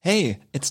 Hey, it's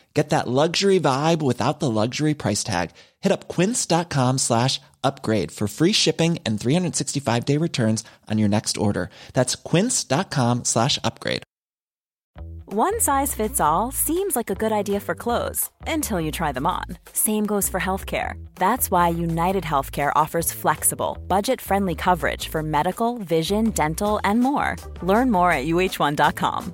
Get that luxury vibe without the luxury price tag. Hit up quince.com slash upgrade for free shipping and 365 day returns on your next order. That's quince.com slash upgrade. One size fits all seems like a good idea for clothes until you try them on. Same goes for healthcare. That's why United Healthcare offers flexible, budget friendly coverage for medical, vision, dental, and more. Learn more at uh1.com.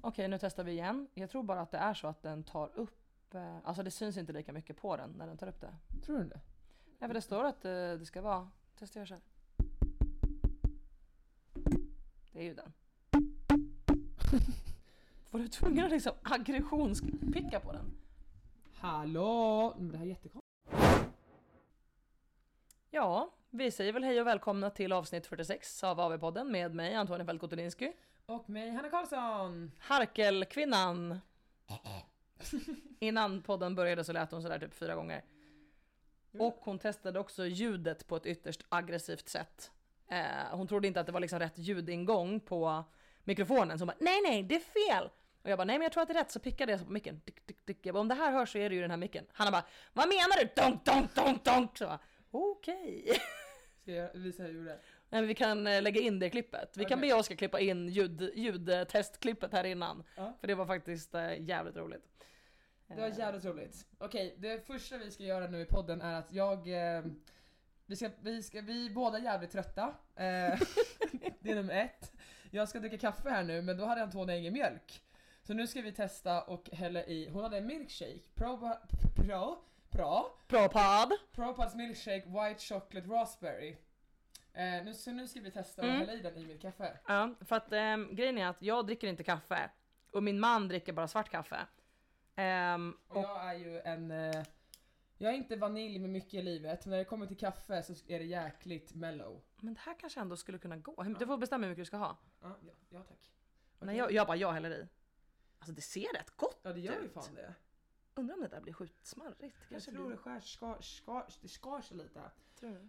Okej, nu testar vi igen. Jag tror bara att det är så att den tar upp, eh, alltså det syns inte lika mycket på den när den tar upp det. Tror du det? Nej för det står att eh, det ska vara, testa jag så här. Det är ju den. Var du tvungen att liksom aggressionspicka på den? Hallå! Men det här är jättekonstigt. Ja, vi säger väl hej och välkomna till avsnitt 46 av AV-podden med mig Antonija Fältkotulinski. Och mig, Hanna Karlsson! Harkelkvinnan. Innan podden började så lät hon sådär typ fyra gånger. Och hon testade också ljudet på ett ytterst aggressivt sätt. Eh, hon trodde inte att det var liksom rätt ljudingång på mikrofonen. Så hon bara nej nej det är fel! Och jag bara nej men jag tror att det är rätt. Så pickade jag så på micken. Dick, dick, dick. Jag bara, om det här hörs så är det ju den här micken. Hanna bara vad menar du? Donk donk donk donk! Så jag bara, okej. Ska jag visa hur jag gjorde? Nej, men vi kan eh, lägga in det klippet. Vi kan Okej. be Oskar klippa in ljud, ljudtestklippet här innan. Ja. För det var faktiskt eh, jävligt roligt. Det var jävligt roligt. Okej, det första vi ska göra nu i podden är att jag... Eh, vi, ska, vi, ska, vi är båda jävligt trötta. Eh, det är nummer ett. Jag ska dricka kaffe här nu men då hade Antonia ingen mjölk. Så nu ska vi testa och hälla i, hon hade en milkshake. Pro... Pro... Pro... Propad. Propads milkshake white chocolate raspberry. Eh, nu, så nu ska vi testa och hälla i den i mitt kaffe. Ja, för att ehm, grejen är att jag dricker inte kaffe. Och min man dricker bara svart kaffe. Ehm, Och och, jag är ju en... Eh, jag är inte vanilj med mycket i livet, men när det kommer till kaffe så är det jäkligt mellow. men det här kanske ändå skulle kunna gå. Hur- Du får bestämma hur mycket du ska ha. Ja, ja, ja tack. Nej, jag, jag bara, jag häller i. Alltså det ser rätt gott Ja det gör ju ut. fan det. Undrar om det där blir skitsmarrigt. Jag Kanske tror blir det skär, skar, skar, det skar sig lite. tror du?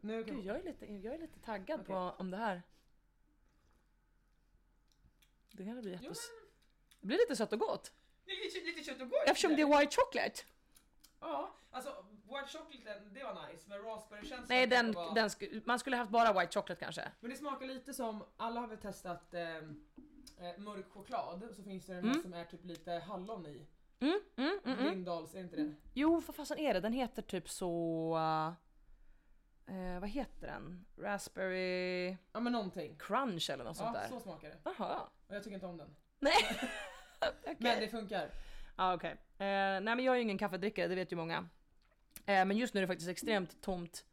Nu Gud, jag är lite, jag är lite taggad på om det här. Det kanske blir Jo, jättes... men- Det blir lite sött och gott. det är lite, lite kött och gott Eftersom det är white chocolate. Ja, alltså white chocolate det var nice, men raspberry känns Nej, den, var... den sku, man skulle haft bara white chocolate kanske. Men det smakar lite som, alla har väl testat eh, eh, mörk choklad, så finns det den här som är typ lite hallon i. Mm, mm, mm, mm. Lindahls, är det inte det? Jo, vad fasen är det? Den heter typ så... eh, vad heter den? Raspberry Ja men någonting. crunch eller något sånt Ja, där. så smakar det. Jaha. Och jag tycker inte om den. Nej. Okej. Men det funkar. Ja, okej. Eh, nej, men jag är ju ingen kaffedrickare, det vet ju många. Eh, men just nu är det faktiskt extremt tomt.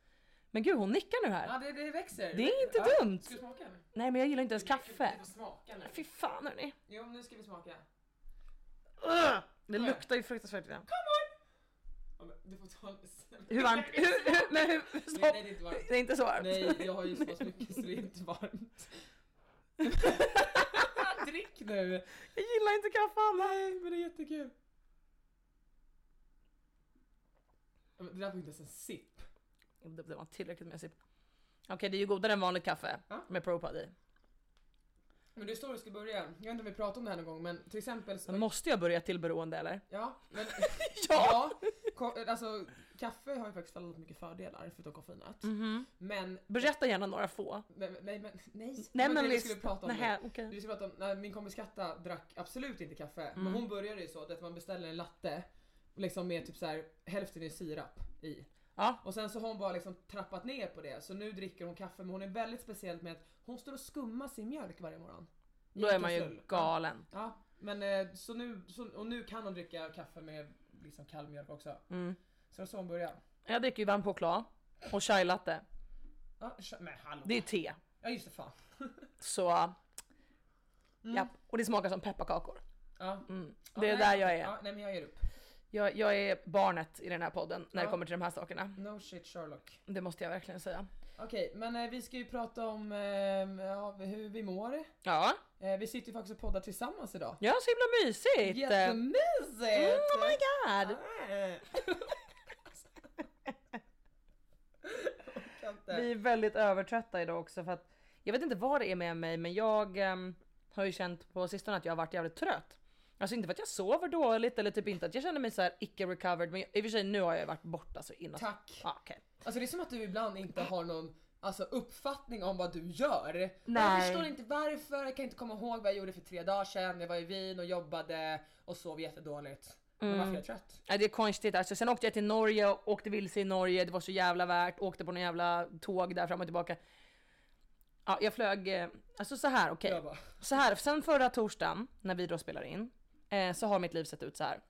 Men gud, hon nickar nu här. Ja det, det växer. Det är inte ja. dumt. Ska vi smaka nu? Nej, men jag gillar inte ens kaffe. Vi får smaka nu. Fy fan hörni. Jo nu ska vi smaka. Ugh! Det luktar ju fruktansvärt. redan. Ja, men Du får ta en sen. Hur varmt? Hur, hur, men hur, stopp. Nej, nej, det är inte varmt. Det är inte så varmt. Nej jag har ju så pass mycket så det är inte varmt. Drick nu! Jag gillar inte kaffe Anna. Nej men det är jättekul. Ja, men Det där var inte ens en sipp. Det det var tillräckligt med sipp. Okej, det är ju godare än vanligt kaffe Ja. med propad i. Men det är så du ska börja. Jag vet inte om vi pratade om det här någon gång men till exempel så... Men måste jag börja till beroende eller? Ja, men, Ja. ko- alltså kaffe har ju faktiskt väldigt mycket fördelar förutom koffeinet. Mhm. Men, Berätta gärna några få. nej, nej, men, nej. det var Nej inte men det vi list. skulle prata om. Nähä, nu. okej. Vi skulle prata om, nej, min kompis Katta drack absolut inte kaffe. Mm. Men hon började ju så att man beställer en latte liksom med typ så här hälften är sirap i. Ja Ja. Och sen så har hon bara liksom trappat ner på det. Så nu dricker hon kaffe men hon är väldigt speciell med att hon står och skummar sin mjölk varje morgon. Då är man ju Jättefull. galen. Ja, men eh, så nu, så, och nu kan hon dricka kaffe med liksom kall mjölk också. Mm. Så det var så hon började. Jag dricker ju varm choklad och chai latte. Ja, tja, men hallå. Det är te. Ja just det, fan. Så... Ja, och det smakar som pepparkakor. Mm. Mm. Ja. Ja, Det är nej, där jag är. Ja, nej men jag ger upp. Jag, jag är barnet i den här podden när det Ja. kommer till de här sakerna. No shit Sherlock. Det måste jag verkligen säga. Okej, men eh, vi ska ju prata om eh, ja, hur vi mår. Ja, Eh, vi sitter ju faktiskt och poddar tillsammans idag. ja så himla mysigt! Jättemysigt! Ah, Mm, oh my god! Jag kan inte. Vi är väldigt övertrötta idag också för att jag vet inte vad det är med mig men jag ehm, har ju känt på sistone att jag har varit jävligt trött. Alltså inte för att jag sover dåligt eller typ inte att jag känner mig så här icke recovered men jag, i och för sig nu har jag ju varit borta så innan. Tack! Ja, okej. Alltså det är som att du ibland inte har någon alltså, uppfattning om vad du gör. Jag Nej. förstår inte varför, jag kan inte komma ihåg vad jag gjorde för tre dagar sedan. Jag var i Wien och jobbade och sov jättedåligt. Mm. Men varför är jag trött? Nej, det är konstigt alltså. Sen åkte jag till Norge och åkte vilse i Norge. Det var så jävla värt. Åkte på någon jävla tåg där fram och tillbaka. Ja, jag flög, eh, alltså så här okej. Jag bara, Så här, sen förra torsdagen när vi då spelar in eh, så har mitt liv sett ut så här.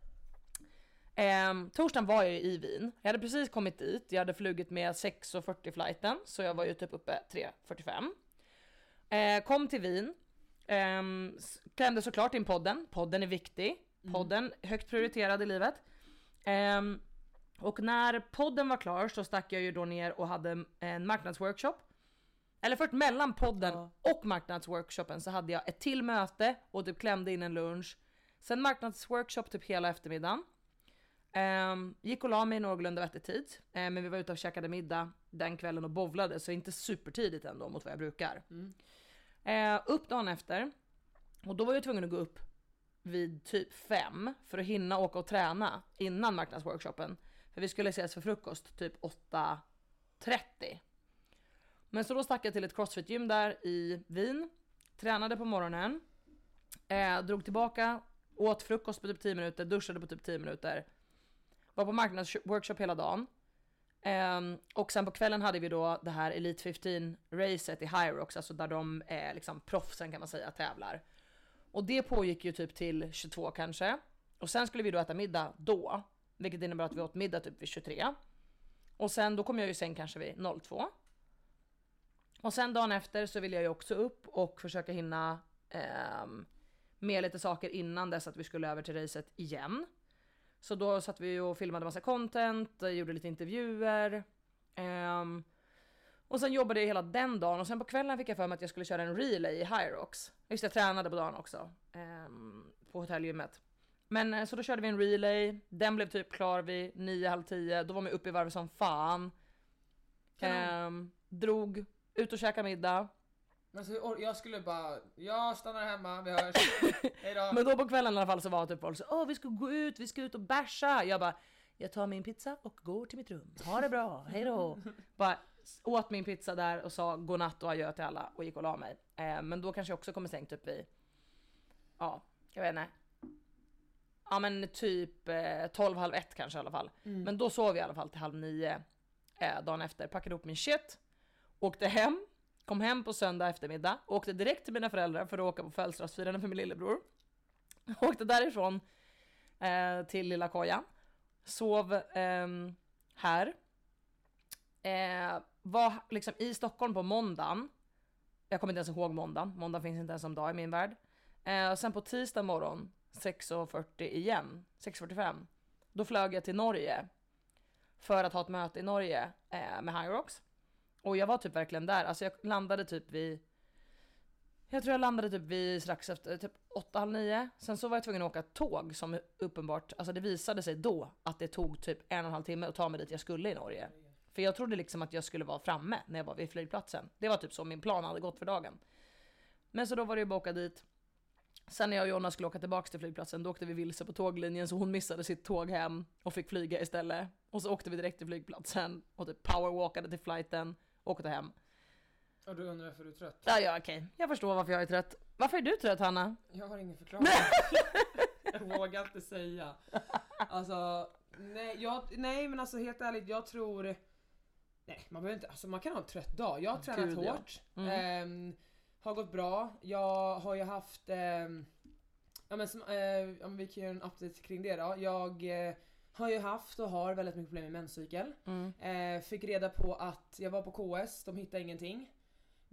Ehm, torsdagen var jag ju i Wien. Jag hade precis kommit dit. Jag hade flugit med 6.40 flighten så jag var ju typ uppe 3.45. Eh, kom till Wien. Ehm, s- klämde såklart in podden. Podden är viktig. Mm. Podden högt prioriterad i livet. Ehm, och när podden var klar så stack jag ju då ner och hade en marknadsworkshop. Eller först mellan podden och marknadsworkshopen så hade jag ett till möte och typ klämde in en lunch. Sen marknadsworkshop typ hela eftermiddagen. Ehm, gick och la mig i någorlunda vettig tid. Ehm, men vi var ute och käkade middag den kvällen och bovlade så inte supertidigt ändå mot vad jag brukar. Ehm, upp dagen efter. Och då var jag tvungen att gå upp vid typ fem för att hinna åka och träna innan marknadsworkshopen. För vi skulle ses för frukost typ 8.30. Men så då stack jag till ett crossfit-gym där i Wien. Tränade på morgonen. Eh, drog tillbaka, åt frukost på typ 10 minuter, duschade på typ 10 minuter. Var på marknadsworkshop hela dagen. Ehm, och sen på kvällen hade vi då det här Elite 15-racet i High Rocks, alltså där de är liksom proffsen kan man säga tävlar. Och det pågick ju typ till 22 kanske. Och sen skulle vi då äta middag då, vilket innebär att vi åt middag typ vid 23. Och sen då kom jag ju sen kanske vid 02. Och sen dagen efter så ville jag ju också upp och försöka hinna ehm, med lite saker innan dess att vi skulle över till racet igen. Så då satt vi och filmade massa content, eh, gjorde lite intervjuer. ehm, och sen jobbade jag hela den dagen och sen på kvällen fick jag för mig att jag skulle köra en relay i High Rocks. Just det, jag tränade på dagen också. ehm, på hotellgymmet. Men eh, så då körde vi en relay, den blev typ klar vid 9, halv 10. Då var man uppe i varv som fan. Ehm, drog, ut och käkade middag. alltså, hur or- jag skulle bara, jag stannar hemma, vi hörs. Hejdå. Men då på kvällen i alla fall så var typ folk så åh vi ska gå ut, vi ska ut och basha. Jag bara, jag tar min pizza och går till mitt rum. Ha det bra, hejdå. bara s- åt min pizza där och sa godnatt och adjö till alla och gick och la mig. Eh, men då kanske jag också kom i säng typ vid, ja, jag vet inte. Ja men typ eh, 12, halv ett kanske i alla fall. Men då sov jag i alla fall till halv nio eh, dagen efter. Packade upp min shit, åkte hem. Kom hem på söndag eftermiddag, åkte direkt till mina föräldrar för att åka på födelsedagsfirande för min lillebror. Åkte därifrån eh, till lilla kojan. Sov ehm, här. Eh, var liksom i Stockholm på måndagen. Jag kommer inte ens ihåg måndagen. Måndag finns inte ens som dag i min värld. Eh, och sen på tisdag morgon 6.40 igen. 6.45. Då flög jag till Norge. För att ha ett möte i Norge eh, med Hyrox. Och jag var typ verkligen där. Alltså jag landade typ vid jag tror jag landade typ vid strax efter, typ 8, halv 9. Sen så var jag tvungen att åka tåg som uppenbart, alltså det visade sig då att det tog typ en och en halv timme att ta mig dit jag skulle i Norge. För jag trodde liksom att jag skulle vara framme när jag var vid flygplatsen. Det var typ så min plan hade gått för dagen. Men så då var det ju bara att åka dit. Sen när jag och Jonna skulle åka tillbaka till flygplatsen, då åkte vi vilse på tåglinjen så hon missade sitt tåg hem och fick flyga istället. Och så åkte vi direkt till flygplatsen och typ powerwalkade till flighten och åkte hem. Och du undrar varför du är trött? Ja, ja okej. Jag förstår varför jag är trött. Varför är du trött Hanna? Jag har ingen förklaring. jag vågar inte säga. Alltså, Nej, jag, nej men alltså helt ärligt, jag tror... Nej, man behöver inte... Alltså man kan ha en trött dag. Jag har tränat Gud, ja. Mm. hårt. ehm, har gått bra. Jag har ju haft... ehm, ja men som, eh, om vi kan göra en update kring det då. Jag eh, har ju haft och har väldigt mycket problem med menscykel. Eh, fick reda på att jag var på KS, de hittade ingenting.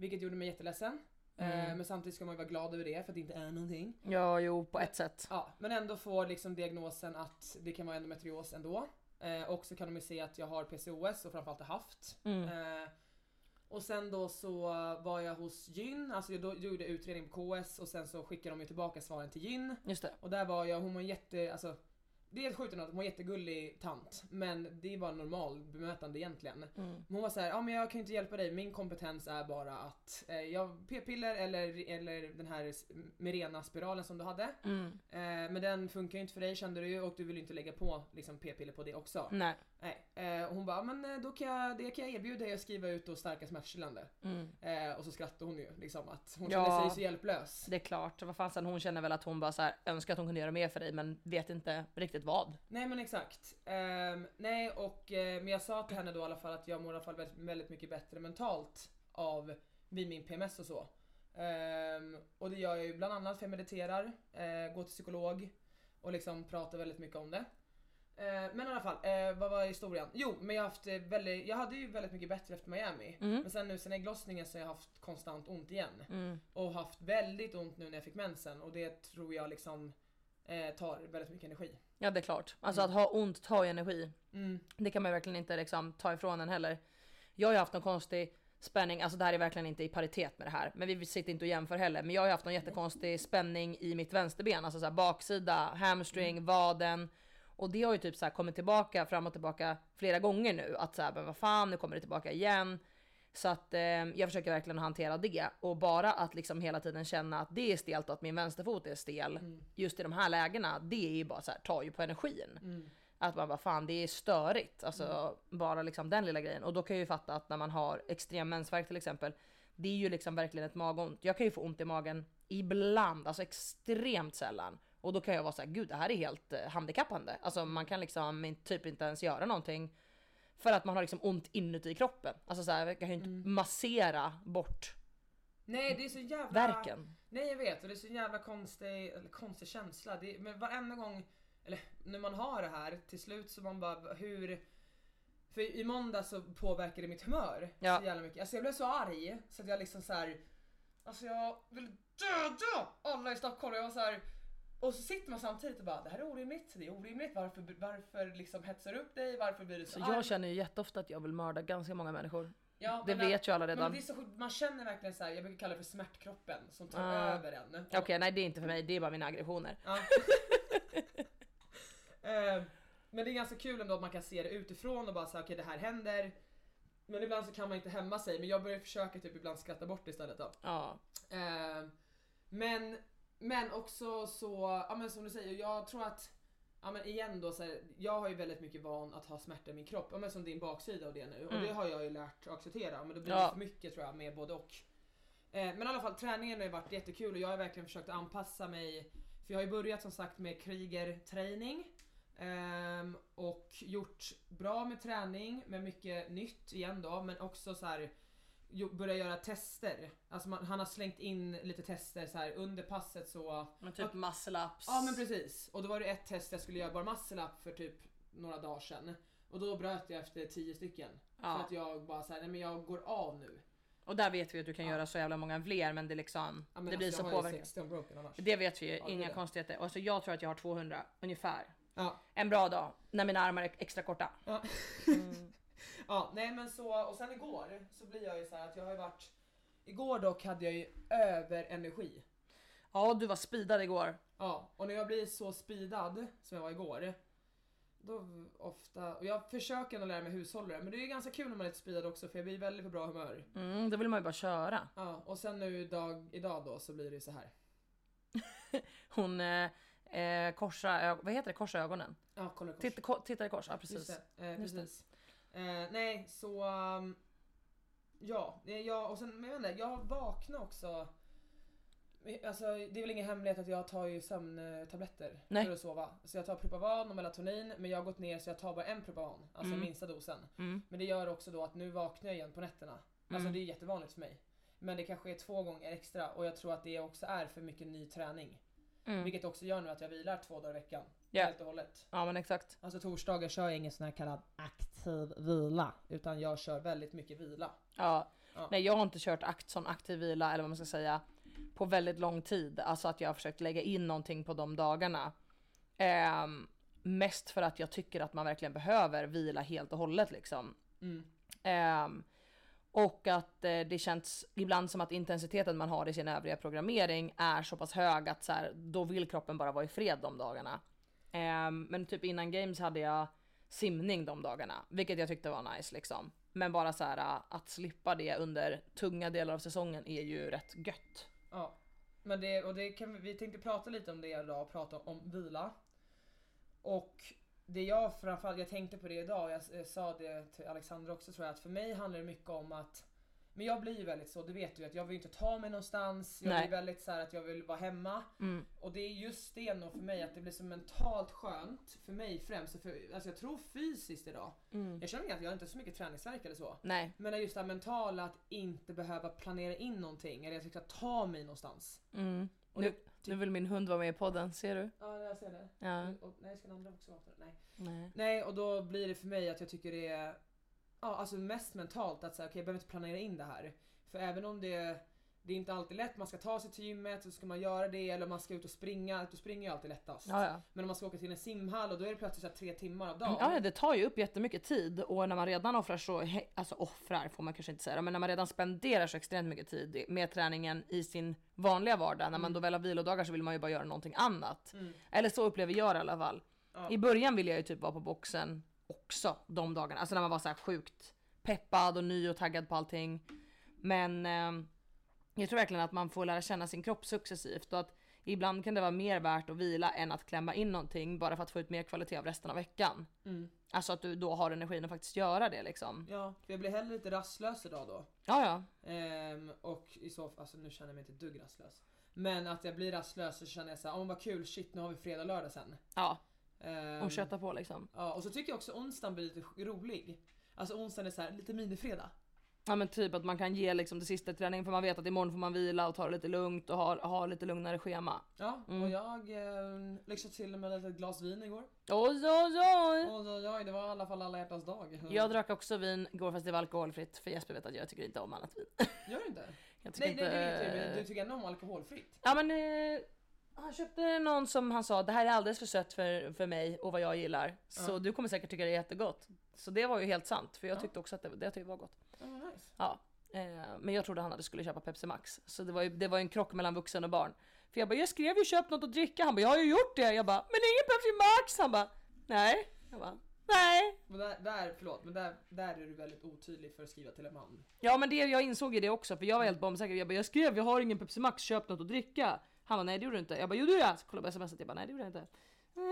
Vilket gjorde mig jätteledsen. Eh, men samtidigt ska man ju vara glad över det för att det inte är någonting. Ja, jo på ett sätt. Ja, men ändå får liksom diagnosen att det kan vara endometrios ändå. Eh, och så kan de ju se att jag har PCOS och framförallt har haft. Eh, och sen då så var jag hos gyn, alltså jag då gjorde jag utredning på KS och sen så skickade de ju tillbaka svaren till gyn. Just det. Och där var jag, hon var en jätte, alltså det är helt sjukt ändå att hon var en jättegullig tant men det var normal bemötande egentligen. Mm. Men Hon var så här, ja men jag kan ju inte hjälpa dig, min kompetens är bara att eh, jag, p-piller eller, eller den här Mirena-spiralen som du hade. Mm. Eh, men den funkar ju inte för dig kände du ju och du vill ju inte lägga på liksom, p-piller på det också. Nej. Nej. Eh, och hon bara, men eh, då kan jag, det kan jag erbjuda dig att skriva ut då starka smärtstillande. Eh, och så skrattade hon ju liksom att hon Mm. Ja. kände sig så hjälplös. Det är klart, vad fan sen hon känner väl att hon bara så här, önskar att hon kunde göra mer för dig men vet inte riktigt vad. Nej men exakt. Ehm, nej och eh, men jag sa till henne då i alla fall att jag mår i alla fall väldigt, väldigt mycket bättre mentalt av vid min PMS och så. Ehm, och det gör jag ju bland annat för jag mediterar, eh, går till psykolog och liksom pratar väldigt mycket om det. Eh, men i alla fall, eh, vad var historien? Jo men jag, har haft eh, väldigt, jag hade ju väldigt mycket bättre efter Miami. Men sen nu sen ägglossningen så har jag haft konstant ont igen. Och haft väldigt ont nu när jag fick mensen och det tror jag liksom eh, tar väldigt mycket energi. Ja det är klart. Alltså att ha ont tar ju energi. Det kan man ju verkligen inte liksom ta ifrån en heller. Jag har ju haft någon konstig spänning, alltså det här är verkligen inte i paritet med det här. Men vi sitter inte och jämför heller. Men jag har ju haft någon jättekonstig spänning i mitt vänsterben. Alltså så här baksida, hamstring, vaden. Och det har ju typ så här kommit tillbaka fram och tillbaka flera gånger nu. Att så här, men vad fan nu kommer det tillbaka igen. Så att eh, jag försöker verkligen hantera det och bara att liksom hela tiden känna att det är stelt och att min vänsterfot är stel just i de här lägena. Det är ju bara så här, tar ju på energin. Att man bara fan det är störigt. Alltså bara liksom den lilla grejen. Och då kan jag ju fatta att när man har extrem mensvärk till exempel. Det är ju liksom verkligen ett magont. Jag kan ju få ont i magen ibland, alltså extremt sällan. Och då kan jag vara så här, gud det här är helt eh, handikappande. Alltså man kan liksom in- typ inte ens göra någonting. För att man har liksom ont inuti kroppen. Alltså så här, jag kan ju inte Mm. massera bort Nej det är så jävla... värken. Nej jag vet och det är så jävla konstig, eller konstig känsla. Det är, men varenda gång, eller när man har det här till slut så man bara hur... För i måndag så påverkade det mitt humör Ja. så jävla mycket. Alltså jag blev så arg så att jag liksom så här. Alltså jag vill döda alla i Stockholm. Jag var så här. Och så sitter man samtidigt och bara det här är orimligt, det är orimligt. Varför, varför liksom hetsar du upp dig? Varför blir du så, Så arg? jag känner ju jätteofta att jag vill mörda ganska många människor. Ja, Det men- vet ju alla redan. Men det är så sjukt, man känner verkligen så här, jag brukar kalla det för smärtkroppen som tar Ah. över en. Okej, nej det är inte för mig, det är bara mina aggressioner. Ja. Eh, men det är ganska kul ändå att man kan se det utifrån och bara säga okej det här händer. Men ibland så kan man inte hämma sig men jag börjar försöka typ ibland skratta bort det istället då. Ja, Eh, men, men också så, ja men som du säger, jag tror att Ja men igen då så här, jag har ju väldigt mycket van att ha smärta i min kropp, ja, men som din baksida och det nu. Och det har jag ju lärt att acceptera, men det blir Ja. för mycket tror jag med både och. Eh, men i alla fall träningen har ju varit jättekul och jag har verkligen försökt anpassa mig. För jag har ju börjat som sagt med krigerträning. ehm, och gjort bra med träning med mycket nytt igen då men också så här jo- börja göra tester. Alltså man, han har slängt in lite tester så här under passet så men typ muscle-ups. Ja men precis. Och då var det ett test jag skulle göra bara muscle up för typ några dagar sedan. Och då bröt jag efter tio stycken. För att jag bara såhär, nej men jag går av nu. Och där vet vi att du kan göra så jävla många fler men det är liksom, Ja, men det blir alltså, så jag har ju påverkat. 16 broken annars. Det vet vi ju, det är inga det. konstigheter. Alltså jag tror att jag har 200 ungefär. Ja. En bra dag, när mina armar är extra korta. Ja. ja, nej men så, och sen igår så blir jag ju så här att jag har ju varit Igår dock hade jag ju överenergi. Ja du var speedad igår. Ja, och när jag blir så speedad som jag var igår. Då ofta, och jag försöker att lära mig hushålla det, men det är ju ganska kul när man är lite speedad också för jag blir väldigt på bra humör. Mm, då vill man ju bara köra. Ja, och sen nu dag, idag då så blir det ju så här. Hon eh, eh, korsar, ö- vad heter det, korsa ögonen? Ja, kolla kors. Titta, ko, tittar i kors, ja Just precis. det. Eh, Just det. precis. Eh, nej, så... um, ja, eh, jag, och sen, men jag vet inte, jag vaknade också Alltså, det är väl ingen hemlighet att jag tar ju sömntabletter Nej. för att sova. Så jag tar Propavan och Melatonin men jag har gått ner så jag tar bara en Propavan, alltså Mm. minsta dosen. Mm. Men det gör också då att nu vaknar jag igen på nätterna. Alltså Mm. det är jättevanligt för mig. Men det kanske är två gånger extra och jag tror att det också är för mycket ny träning. Mm. Vilket också gör nu att jag vilar två dagar i veckan. Ja. Helt och hållet. Ja men exakt. Alltså torsdagar kör jag ingen sån här kallad aktiv vila. Utan jag kör väldigt mycket vila. Ja. Ja. Nej jag har inte kört akt, sån aktiv vila eller vad man ska säga på väldigt lång tid. Alltså att jag har försökt lägga in någonting på de dagarna. Ehm, mest för att jag tycker att man verkligen behöver vila helt och hållet liksom. Mm. Ehm, och att eh, det känns ibland som att intensiteten man har i sin övriga programmering är så pass hög att så här, då vill kroppen bara vara i fred de dagarna. Ehm, men typ innan games hade jag simning de dagarna, vilket jag tyckte var nice liksom. Men bara så här äh, att slippa det under tunga delar av säsongen är ju rätt gött. Ja. Men det, och det kan, vi- vi tänkte prata lite om det idag, prata om vila. Och det jag framförallt, jag tänkte på det idag och jag s- eh, sa det till Alexandra också tror jag, att för mig handlar det mycket om att men jag blir ju väldigt så, det vet du ju, att jag vill inte ta mig någonstans, jag Nej. blir väldigt så här att jag vill vara hemma. Och det är just det nog för mig att det blir så mentalt skönt för mig främst, och för, alltså jag tror fysiskt idag. Jag känner att jag har inte så mycket träningsvärk eller så. Nej. Men det är just det här mentala att inte behöva planera in någonting eller jag ska typ ta mig någonstans. Och Mm. Nu, det- typ- nu vill min hund vara med i podden, ser du? Ja jag ser det. Ja. Och, nej ska den andra också vakna? Nej. Nej. Nej och då blir det för mig att jag tycker det är ja, alltså mest mentalt att säga okej jag behöver inte planera in det här. För även om det, det är inte alltid lätt, man ska ta sig till gymmet så ska man göra det eller man ska ut och springa, ut och springa är ju alltid lättast. Ja, ja. Mm, Men om man ska åka till en simhall och då är det plötsligt så här tre timmar av dagen. Ja, ja, det tar ju upp jättemycket tid och när man redan offrar så, he- alltså offrar får man kanske inte säga, men när man redan spenderar så extremt mycket tid med träningen i sin vanliga vardag, när man då väl har vilodagar så vill man ju bara göra någonting annat. Eller så upplever jag det i alla fall. I början ville jag ju typ vara på boxen också de dagarna, alltså när man var så här sjukt peppad och ny och taggad på allting. Men ehm, jag tror verkligen att man får lära känna sin kropp successivt och att ibland kan det vara mer värt att vila än att klämma in någonting bara för att få ut mer kvalitet av resten av veckan. Mm. Alltså att du då har energin att faktiskt göra det liksom. Ja, för jag blir hellre lite rastlös idag då. Ja, ja. Ehm, och i så fall, alltså nu känner jag mig inte ett dugg rastlös. Men att jag blir rastlös så känner jag såhär, åh vad kul, shit nu har vi fredag och lördag sen. Ja, Ehm, och köta på liksom. Ja, och så tycker jag också onsdagen blir lite rolig. Alltså onsdagen är så här lite minifredag. Ja men typ att man kan ge liksom det sista träningen för man vet att imorgon får man vila och ta det lite lugnt och ha, ha lite lugnare schema. Ja, Mm. och jag eh, lyxade till med ett litet glas vin igår. Oj, oj, oj! Oj oj oj, det var i alla fall alla hjärtans dag. Jag drack också vin igår fast det var alkoholfritt för Jesper vet att jag tycker inte om annat vin. Gör du inte? Jag tycker Nej nej inte... det vet jag ju, men du tycker ändå om alkoholfritt. Ja men eh, han köpte någon som han sa det här är alldeles för sött för, för mig och vad jag gillar. Så du kommer säkert tycka det är jättegott. Så det var ju helt sant för jag tyckte också att det, det tyckte jag var gott. Ja, vad nice. Ja. Eh, men jag trodde han hade skulle köpa Pepsi Max. Så det var ju det var ju en krock mellan vuxen och barn. För jag bara jag skrev ju köp något att dricka. Han bara jag har ju gjort det. Jag bara men ingen Pepsi Max. Han bara nej. Jag bara nej. Men där, där, förlåt, men där, där är du väldigt otydlig för att skriva till en man. Ja men det, jag insåg ju det också för jag var helt bombsäker. Jag bara jag skrev jag har ingen Pepsi Max, köp något att dricka. Han bara nej det gjorde du inte. Jag bara jo det gjorde jag. Så kollade jag på smset jag bara nej det gjorde jag inte. Mm.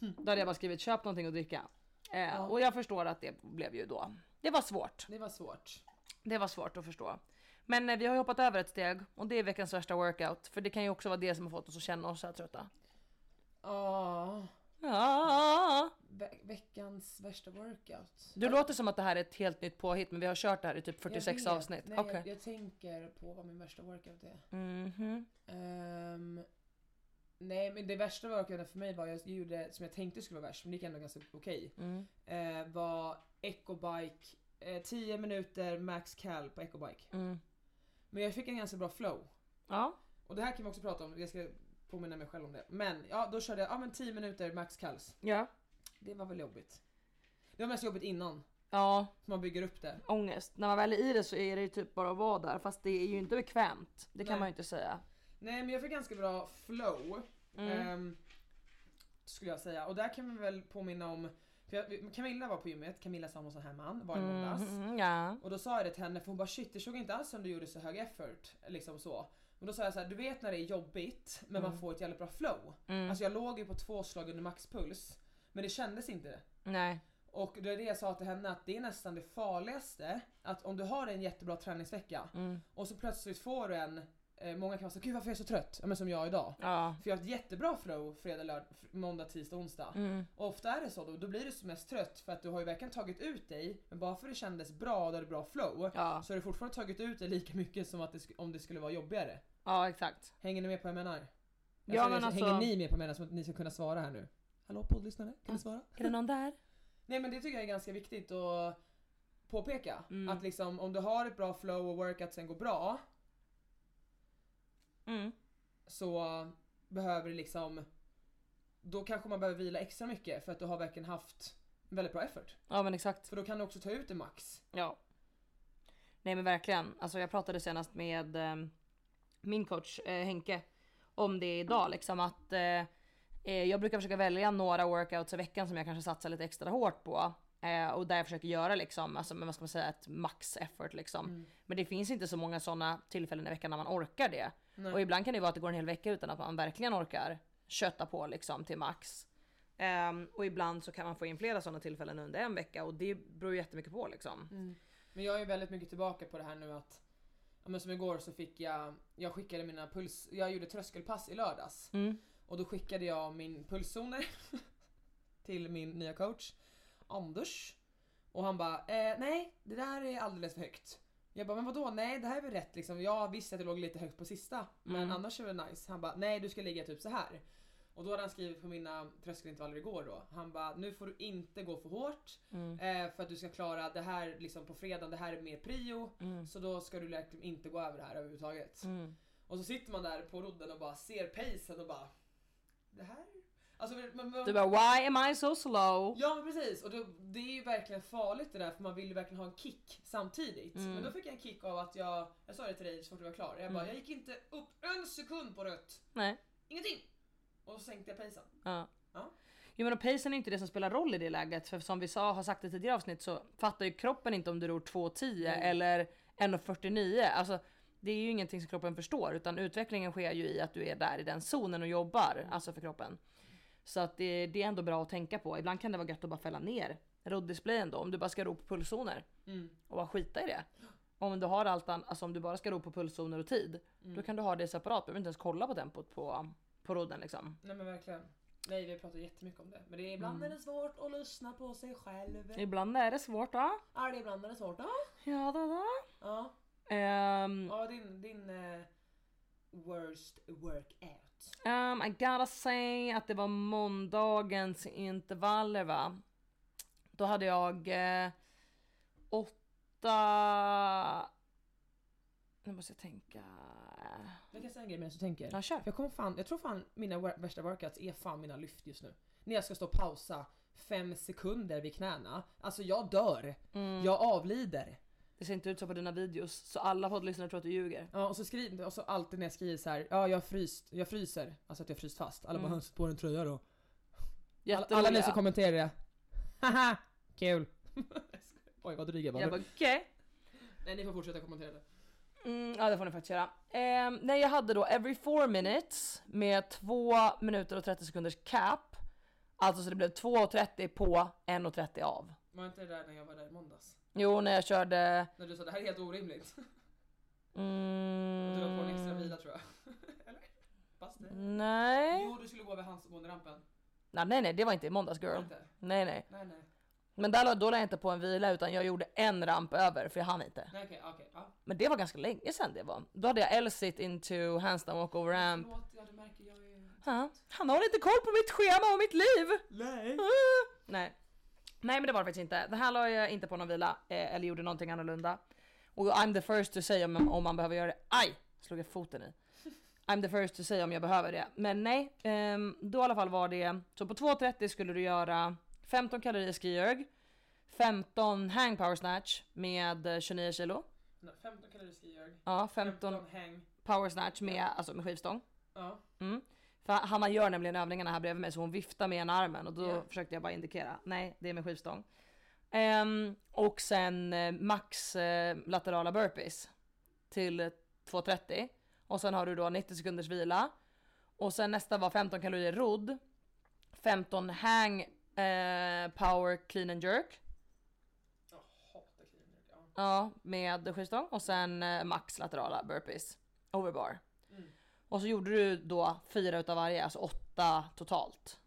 Nej. Då hade jag bara skrivit köp någonting att dricka. Eh, Och jag förstår att det blev ju då. Det var svårt. Det var svårt. Det var svårt att förstå. Men eh, vi har ju hoppat över ett steg och det är veckans värsta workout. För det kan ju också vara det som har fått oss att känna oss så här trötta. Ja, Ja. ve- veckans värsta workout. Du låter som att det här är ett helt nytt påhitt men vi har kört det här i typ Jag 46 vet. avsnitt. Nej, Okej. jag, jag tänker på vad min värsta workout är. Mhm. Ehm, nej men det värsta workouten för mig var, jag gjorde som jag tänkte skulle vara värst men det gick ändå ganska okej. Mm. eh, var ecobike, eh, 10 minuter max cal på ecobike. Mm. Men jag fick en ganska bra flow. Ja. Och det här kan vi också prata om, jag ska påminna mig själv om det. Men ja, då körde jag ja, men 10 minuter max calls. Ja. Det var väl jobbigt. Det var mest jobbigt innan, Ja. för man bygger upp det. ångest. När man väl är i det så är det ju typ bara att vara där fast det är ju inte bekvämt. Det kan Nej. man ju inte säga. Nej men jag fick ganska bra flow. ehm, skulle jag säga. Och där kan vi väl påminna om, för jag, Camilla var på gymmet, Camilla Samuelsson Herman var i måndags. Mm, ja. Och då sa jag det till henne för hon bara shit det såg inte alls som du gjorde så hög effort. Liksom så. Men då sa jag så här, du vet när det är jobbigt men man får ett jävligt bra flow. Alltså jag låg ju på två slag under maxpuls. Men det kändes inte. Nej. Och det är det jag sa till henne att det är nästan Mm. det farligaste. Att om du har en jättebra träningsvecka och så plötsligt får du en Eh, många kan vara så gud varför är jag så trött? Ja men som jag idag. Ja. För jag har ett jättebra flow fredag, lörd, fr- måndag, tisdag, onsdag. Mm. Och ofta är det så då, då blir du som mest trött för att du har ju verkligen tagit ut dig men bara för att det kändes bra och du hade bra flow Ja. så har du fortfarande tagit ut dig lika mycket som att det sk- om det skulle vara jobbigare. ja, exakt. Hänger ni med på vad jag menar? Jag Ja, ser- men alltså- Mm. Hänger ni med på vad jag menar så att ni ska kunna svara här nu? Hallå poddlyssnare, kan ni svara? Är det någon där? Nej men det tycker jag är ganska viktigt att påpeka. Att liksom om du har ett bra flow och workoutsen går bra Mm. så behöver det liksom då kanske man behöver vila extra mycket för att du har verkligen haft en väldigt bra effort. Ja men exakt. För då kan du också ta ut det max. Ja. Nej men verkligen. Alltså jag pratade senast med eh, min coach eh, Henke om det idag liksom att eh, eh, jag brukar försöka välja några workouts i veckan som jag kanske satsar lite extra hårt på. Eh, och där jag försöker göra liksom, alltså, men vad ska man säga, ett max effort liksom. Men det finns inte så många sådana tillfällen i veckan när man orkar det. Och ibland kan det vara att det går en hel vecka utan att man verkligen orkar köta på liksom till max. Ehm, och ibland så kan man få in flera sådana tillfällen under en vecka och det beror ju jättemycket på liksom. Men jag är väldigt mycket tillbaka på det här nu att ja, men som igår så fick jag, jag skickade mina puls, jag gjorde tröskelpass i lördags. Och då skickade jag min pulszoner till min nya coach Anders. Och han bara eh, nej det där är alldeles för högt. Jag bara men vadå nej det här är väl rätt liksom. Jag visste att jag låg lite högt på sista Mm. men annars är det nice. Han bara nej du ska ligga typ så här. Och då hade han skrivit på mina tröskelintervaller igår då. Han bara nu får du inte gå för hårt Mm. eh, för att du ska klara det här liksom på fredagen. Det här är mer prio Mm. så då ska du verkligen inte gå över det här överhuvudtaget. Och så sitter man där på rodden och bara ser pacen och bara det här. Alltså, men, men, Du bara why am I so slow? Ja men precis och då, det är ju verkligen farligt det där för man vill ju verkligen ha en kick samtidigt. Men då fick jag en kick av att jag, jag sa det till dig så fort jag var klar, jag bara jag gick inte upp en sekund på rött. Nej. Ingenting! Och så sänkte jag pacen. Ja. Ja. Jo men och pacen är inte det som spelar roll i det läget för som vi sa, har sagt i tidigare avsnitt så fattar ju kroppen inte om du ror 2.10 eller 1.49. Alltså det är ju ingenting som kroppen förstår utan utvecklingen sker ju i att du är där i den zonen och jobbar, alltså för kroppen. Så att det, det är ändå bra att tänka på. Ibland kan det vara gött att bara fälla ner roddisplayen då om du bara ska ro på pulszoner och bara skita i det. Om du har allt an- alltså om du bara ska ro på pulszoner och tid, då kan du ha det separat. Du behöver inte ens kolla på tempot på, på rodden liksom. Nej men verkligen. Nej vi pratar jättemycket om det. Men det är, ibland är det svårt att lyssna på sig själv. Ibland är det svårt då. Ja det är ibland är det svårt. Ja. Ja då då. Ja, Um, ja din, din eh, worst workout. um, I gotta say att det var måndagens intervaller va. Då hade jag eh, åtta... Nu måste jag tänka. Jag kan säga en grej medan du tänker. Ja, kör. För jag, kommer fan, jag tror fan mina wor- värsta workouts är fan mina lyft just nu. När jag ska stå och pausa fem sekunder vid knäna. Alltså jag dör. Mm. Jag avlider. Det ser inte ut så på dina videos så alla poddlyssnare tror att du ljuger. Ja, och så skriver och så alltid när jag skriver så här, ja jag, fryst, jag fryser. Alltså att jag fryst fast. Alla bara, har på en tröja då. Alla, Mm. Jätteroliga. alla ni som kommenterar det. Haha, kul. Oj vad dryg jag var. Jag bara okej. Nej ni får fortsätta kommentera det. Mm, ja det får ni faktiskt göra. Ehm, nej jag hade då every four minutes med 2 minuter och 30 sekunders cap. Alltså så det blev 2.30 på 1.30 av. Var inte det där när jag var där i måndags? Jo när jag körde... När du sa det här är helt orimligt. Mm, Du la på en extra vila tror jag. Eller? Fast det. nej. Jo du skulle gå över handsgående-rampen. Nej, nej nej det var inte i måndags girl. Inte? Nej nej. Nej nej. Men där, la- då la jag inte på en vila utan jag gjorde en ramp över för jag hann inte. Nej okej, okej. Ja. Men det var ganska länge sedan det var. Då hade jag L-sit into handstand walk over ramp. Förlåt, ja du märker jag är... Ja, Han har inte koll på mitt schema och mitt liv! Nej! Ah! Nej. Nej men det var det faktiskt inte. Det här la jag inte på någon vila eh, eller gjorde någonting annorlunda. Och I'm the first to say om, om man behöver göra det. Aj! Slog jag foten i. I'm the first to say om jag behöver det. Men nej, ehm, då i alla fall var det. Så på 2.30 skulle du göra 15 kalorier skihög, 15 hang power snatch med eh, 29 kilo. 15 kalorier skihög. Ja, 15 15 häng. power snatch med, alltså med skivstång. Mm. Ja. För Hanna gör nämligen övningarna här bredvid mig så hon viftar med ena armen och då Ja. försökte jag bara indikera. Nej, det är med skivstång. Ehm, och sen eh, max eh, laterala burpees till eh, 2.30 och sen har du då 90 sekunders vila och sen nästa var 15 kalorier rodd, 15 hang eh, power clean and jerk. Jag hatar clean jerk. Ja. Ja, med skivstång och sen eh, max laterala burpees. Overbar. Och så gjorde du då fyra utav varje, alltså åtta totalt.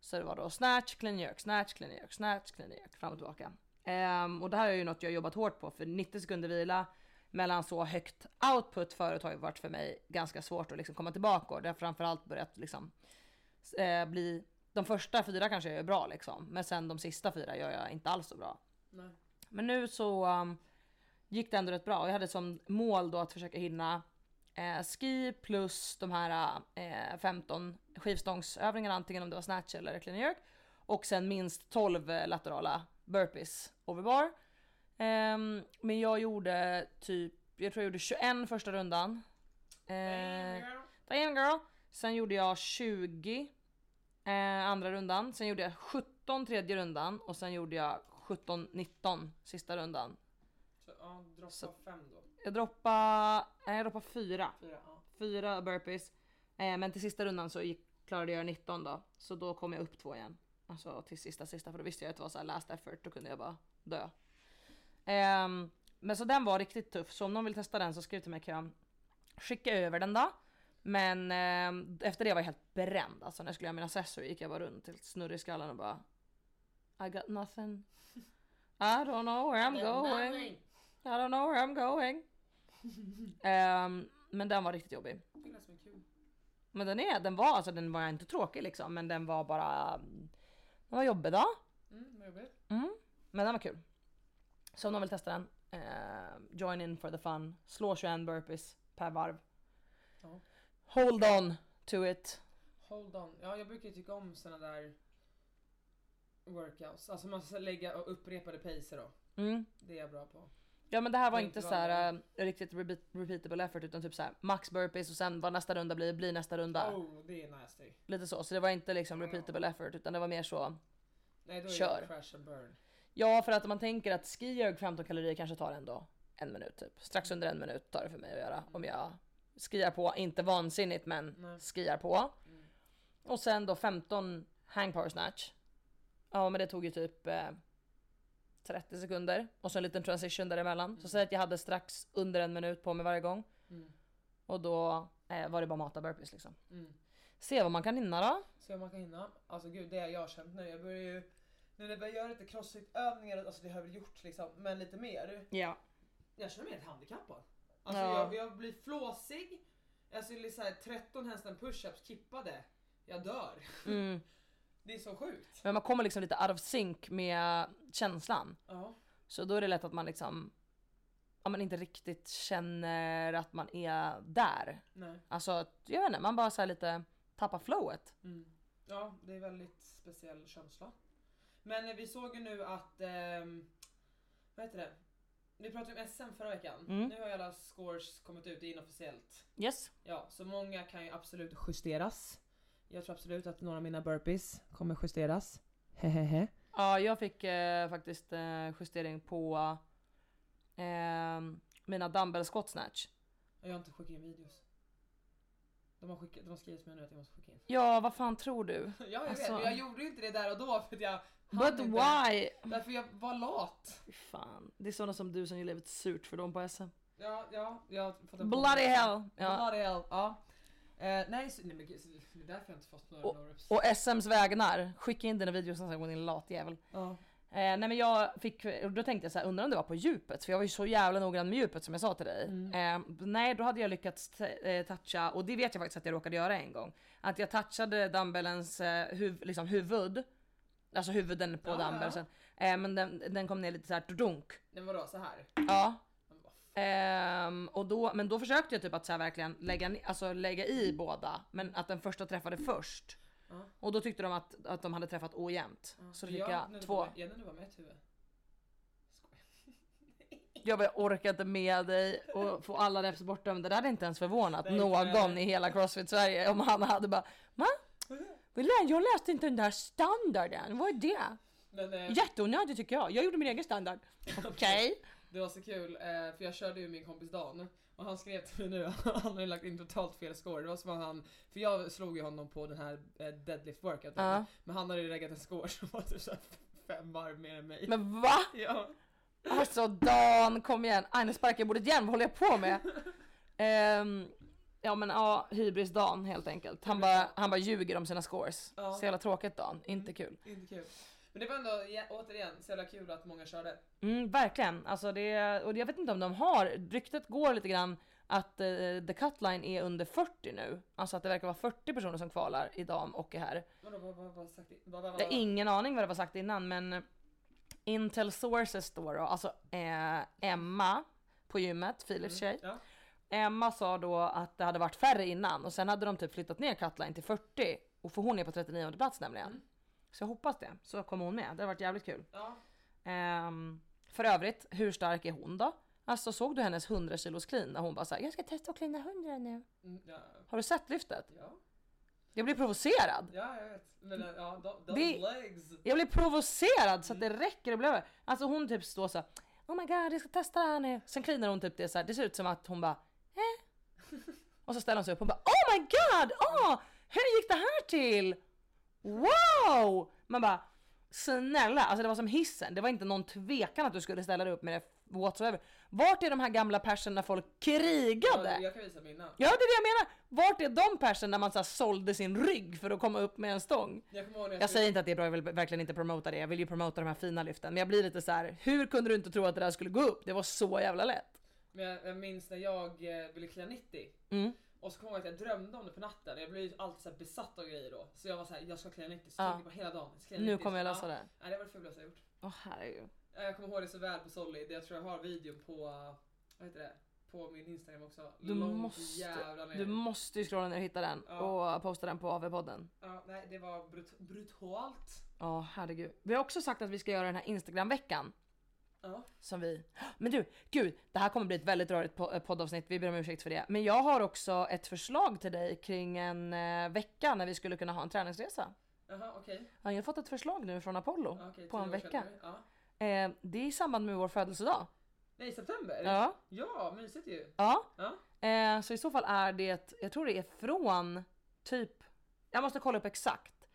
Så det var då snatch, clean and jerk, snatch, clean and jerk, snatch, clean and jerk fram och tillbaka. Ehm, och det här är ju något jag jobbat hårt på för 90 sekunder vila mellan så högt output förut har ju varit för mig ganska svårt att liksom komma tillbaka och det har framförallt börjat liksom eh, bli de första fyra kanske jag gör bra liksom men sen de sista fyra gör jag inte alls så bra. Nej. Men nu så um, gick det ändå rätt bra och jag hade som mål då att försöka hinna eh, ski plus de här eh, 15 skivstångsövningarna antingen om det var snatch eller clean and jerk och sen minst 12 laterala burpees overbar. Ehm, men jag gjorde typ, jag tror jag gjorde 21 första rundan. Ehm, Damn girl. Sen gjorde jag 20 eh, andra rundan. Sen gjorde jag 17 tredje rundan och sen gjorde jag 17-19 sista rundan. Så, ja, droppa Så- fem då. Jag droppade, nej, jag droppade fyra. Fyra, ja. Fyra burpees. Eh, men till sista rundan så gick, klarade jag 19 då. Så då kom jag upp två igen. Alltså till sista sista för då visste jag att det var så här last effort. Då kunde jag bara dö. Ehm, men så den var riktigt tuff. Så om någon vill testa den så skriv till mig kan jag skicka över den då. Men ehm, efter det var jag helt bränd. Alltså när jag skulle göra mina sessor gick jag bara runt till snurrig i skallen och bara I got nothing. I don't know where I'm going. I don't know where I'm going. Ehm, men den var riktigt jobbig. Det lät som en kul. Men den, är, den var alltså den var inte tråkig liksom men den var bara Den var jobbig då. Mm, vad jobbigt. Mm. Men den var kul. Så om någon vill testa den, eh, join in for the fun. Slå 21 burpees per varv. Ja. Hold on to it. Hold on. Ja, jag brukar ju tycka om såna där workouts. Alltså man ska lägga och upprepade pacer då. Mm. Det är jag bra på. Ja men det här var Det är inte inte så här vanligt. eh, riktigt repeat, repeatable effort utan typ så här max burpees och sen vad nästa runda blir, blir nästa runda. Oh, det är nasty. Lite så. Så det var inte liksom repeatable effort utan det var mer så Nej, då är Kör. det crash and burn. Ja, för att om man tänker att ski och 15 kalorier kanske tar ändå en minut typ. Strax under en minut tar det för mig att göra om jag skiar på, inte vansinnigt men skiar på. Och sen då 15 hang power snatch. Ja, men det tog ju typ eh, 30 sekunder och så en liten transition däremellan. Så säg att jag hade strax under en minut på mig varje gång. Och då eh, var det bara mata burpees liksom. Se vad man kan hinna då. Se om man kan hinna. Alltså gud, det har jag känt nu. Jag börjar ju... Nu när jag börjar göra lite crossfit-övningar, alltså det har jag väl gjort liksom, men lite mer. Ja. Jag känner mig helt handikappad. Alltså Ja. jag, jag blir flåsig. Alltså det är så här 13 hästen push-ups kippade. Jag dör. det är så sjukt. Men man kommer liksom lite out of sync med känslan. Ja. Så då är det lätt att man liksom ja, man inte riktigt känner att man är där. Nej. Alltså, att- jag vet inte, man bara så här lite tappar flowet. Mm. Ja, det är väldigt speciell känsla. Men eh, vi såg ju nu att, ehm, vad heter det? Vi pratade om SM förra veckan. Nu har ju alla scores kommit ut, det är inofficiellt. Yes. Ja, så många kan ju absolut justeras. Jag tror absolut att några av mina burpees kommer justeras. Hehehe. Ja, jag fick eh, faktiskt eh, justering på eh, mina dumbbell squat snatch. Och Jag har inte skickat in videos. De har, skickat, de har skrivit till mig nu att jag måste skicka in. Ja, vad fan tror du? Ja, jag Alltså- vet, men jag gjorde ju inte det där och då för att jag hann But inte. why? Därför jag var lat. Fy Fan, det är sådana som du som gör livet surt för dem på SM. Ja, ja, jag har fått en Bloody hell! Ja. Bloody hell, ja. Eh, nej, så, nej men gud, så- det är därför jag inte fått några Och, no reps. och SMs vägnar, skicka in dina videos nästa gång din latjävel. Ja. Eh, nej men jag fick, och då tänkte jag så här, undrar om det var på djupet? För jag var ju så jävla noggrann med djupet som jag sa till dig. Eh, nej, då hade jag lyckats t- eh, toucha, och det vet jag faktiskt att jag råkade göra en gång. Att jag touchade dumbbellens eh, huv, liksom huvud. Alltså huvuden på dumbbellsen. Eh, men den, den kom ner lite såhär dunk. Nej vadå, så här? Ja. Ehm, och då, men då försökte jag typ att så här verkligen lägga, ni- alltså lägga i båda, men att den första träffade först. Och då tyckte de att, att de hade träffat ojämnt. Så då fick jag nu två. Var, jag nu var med ett huvud. Skojar. Jag bara orkar inte med dig och få alla reps bortdömda. Det hade inte ens förvånat Nej, någon nej. i hela Crossfit Sverige om han hade bara Ma? vi lä- Jag läste inte den där standarden. Vad är det? Men eh, Jätteonödigt tycker jag. Jag gjorde min egen standard. Okej. det var så kul, eh, för jag körde ju min kompis Dan och han skrev till mig nu att han hade lagt in totalt fel score. Det var som att han, för jag slog ju honom på den här eh, deadlift workouten. Ja. Men han hade ju läggat en score som var typ så här fem varv mer än mig. Men va? Ja. Alltså Dan, kom igen. Aj nu sparkar jag bordet igen. Vad håller jag på med? Ehm, Ja men ja, hybris Dan helt enkelt. Han bara, han bara ljuger om sina scores. Ja. Så jävla tråkigt Dan, inte kul. Inte kul. Men det var ändå ja, återigen så jävla kul att många körde. Mm, verkligen. Alltså det, och jag vet inte om de har, ryktet går lite grann att eh, the cutline är under 40 nu. Alltså att det verkar vara 40 personer som kvalar i dam och är här. Vadå, vad, vad, vad, sagt, vad, vad, Jag har vad, ingen aning vad det var sagt innan men Intel Sources då, då alltså eh, Emma på gymmet, Philips tjej. Mm, ja. Emma sa då att det hade varit färre innan och sen hade de typ flyttat ner Cutline till 40 och för hon är på 39 plats nämligen. Mm. Så jag hoppas det, så kommer hon med. Det hade varit jävligt kul. Ja. Ehm, för övrigt, hur stark är hon då? Alltså såg du hennes 100 kilos clean när hon bara såhär “jag ska testa att cleana 100 nu”? Mm, ja. Har du sett lyftet? Ja. Jag blir provocerad! Ja, jag vet. Men eh, ja, de, de Det- legs. Mm. Jag blir provocerad så att det räcker. Det blev... Alltså hon typ står så här, Oh my god, jag ska testa det här nu. Sen cleanar hon typ det så här. Det ser ut som att hon bara eh. Och så ställer hon sig upp och bara Oh my god! Åh! hur gick det här till? Wow! Man bara Snälla, alltså det var som hissen. Det var inte någon tvekan att du skulle ställa dig upp med det whatsoever. Vart är de här gamla persen när folk krigade? Jag kan visa mina. Ja, det är det jag menar. Vart är de persen när man så här sålde sin rygg för att komma upp med en stång? Jag kommer ihåg när jag, Jag skulle- säger inte att det är bra, jag vill verkligen inte promota det. Jag vill ju promota de här fina lyften. Men jag blir lite så här: hur kunde du inte tro att det där skulle gå upp? Det var så jävla lätt. men jag, jag minns när jag eh, ville klä 90. Mm. Och så kommer jag ihåg att jag drömde om det på natten. Jag blir ju alltid så här besatt av grejer då. Så jag var så här, jag ska klä 90. Så Ja. tänkte jag på hela dagen. ska klä Nu 90, kommer jag så- lösa ja. det. Nej, det var det fulaste jag gjort. Åh herregud. Eh, Jag kommer ihåg det så väl på Solid. Jag tror jag har videon på, eh, vad heter det? På min Instagram också. Du Långt måste, jävla ner. du måste ju scrolla ner och hitta den Ja. och posta den på AV-podden. Ja, nej, det var brut- brutalt. Ja herregud. Vi har också sagt att vi ska göra den här Instagram-veckan. Ja. Som vi... Men du, gud! Det här kommer bli ett väldigt rörigt po- eh, poddavsnitt, vi ber om ursäkt för det. Men jag har också ett förslag till dig kring en eh, vecka när vi skulle kunna ha en träningsresa. Jaha, okej. Ja, Jag har fått ett förslag nu från Apollo Ja, okej, på tio en år sedan vecka. nu. Ja. Eh, det är i samband med vår födelsedag. Nej, september? Ja. Ja, mysigt ju. Ja. Ja. Eh, så i så fall är det, jag tror det är från typ, jag måste kolla upp exakt.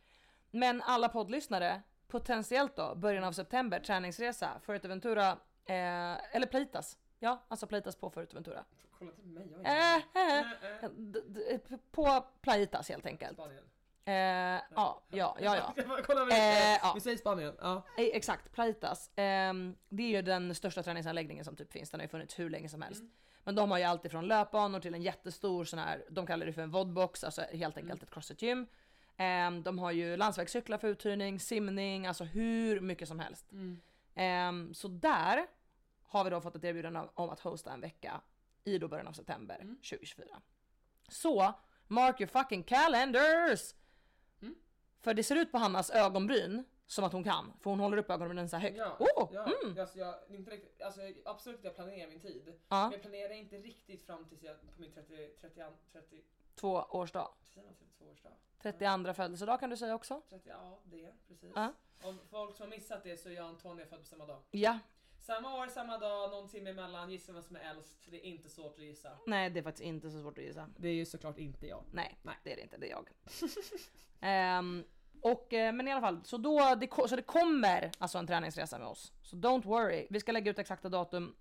Men alla poddlyssnare, potentiellt då, början av september, träningsresa, Fuerteventura, eh, eller Pleitas. Ja, alltså Pleitas på Fuerteventura. Får kolla till mig, jag Eh, är inte- eh, Nej, eh, eh, d- d- på Plaitas helt enkelt. Spanien. Eh, ja, ja, ja, ja. Ska man kolla Eh, vad det ja. är? Vi säger Spanien. Ja. Eh, Exakt, Plaitas. Ehm, det är ju den största träningsanläggningen som typ finns. Den har ju funnits hur länge som helst. Mm. Men de har ju allt ifrån löpbanor till en jättestor sån här, de kallar det för en vodbox, alltså helt Mm. enkelt ett crossfit-gym. Ehm, de har ju landsvägscyklar för uthyrning, simning, alltså hur mycket som helst. Mm. Ehm, så där har vi då fått ett erbjudande om- om att hosta en vecka i då början av september Mm. 2024. Så, mark your fucking calendars! Mm. För det ser ut på Hannas ögonbryn som att hon kan, för hon håller upp ögonbrynen så här högt. Ja, Åh! ja. Mm. Alltså, jag, inte riktigt, alltså, jag- absolut att jag planerar min tid. Ja. Men jag planerar inte riktigt fram tills jag på min 30, 30, 30, Två årsdag. 32 årsdag. 32 födelsedag kan du säga också. 30, ja det precis. Ja. Om folk som har missat det så är jag och Antonija född på samma dag. Ja. Samma år, samma dag, någon timme emellan. Gissa vem som är äldst. Det är inte svårt att gissa. Nej det är faktiskt inte så svårt att gissa. Det är ju såklart inte jag. Nej, Nej. det är det inte, det är jag. Ehm, och, eh, men i alla fall, så, då, det, ko- så det kommer alltså en träningsresa med oss. Så don't worry, vi ska lägga ut exakta datum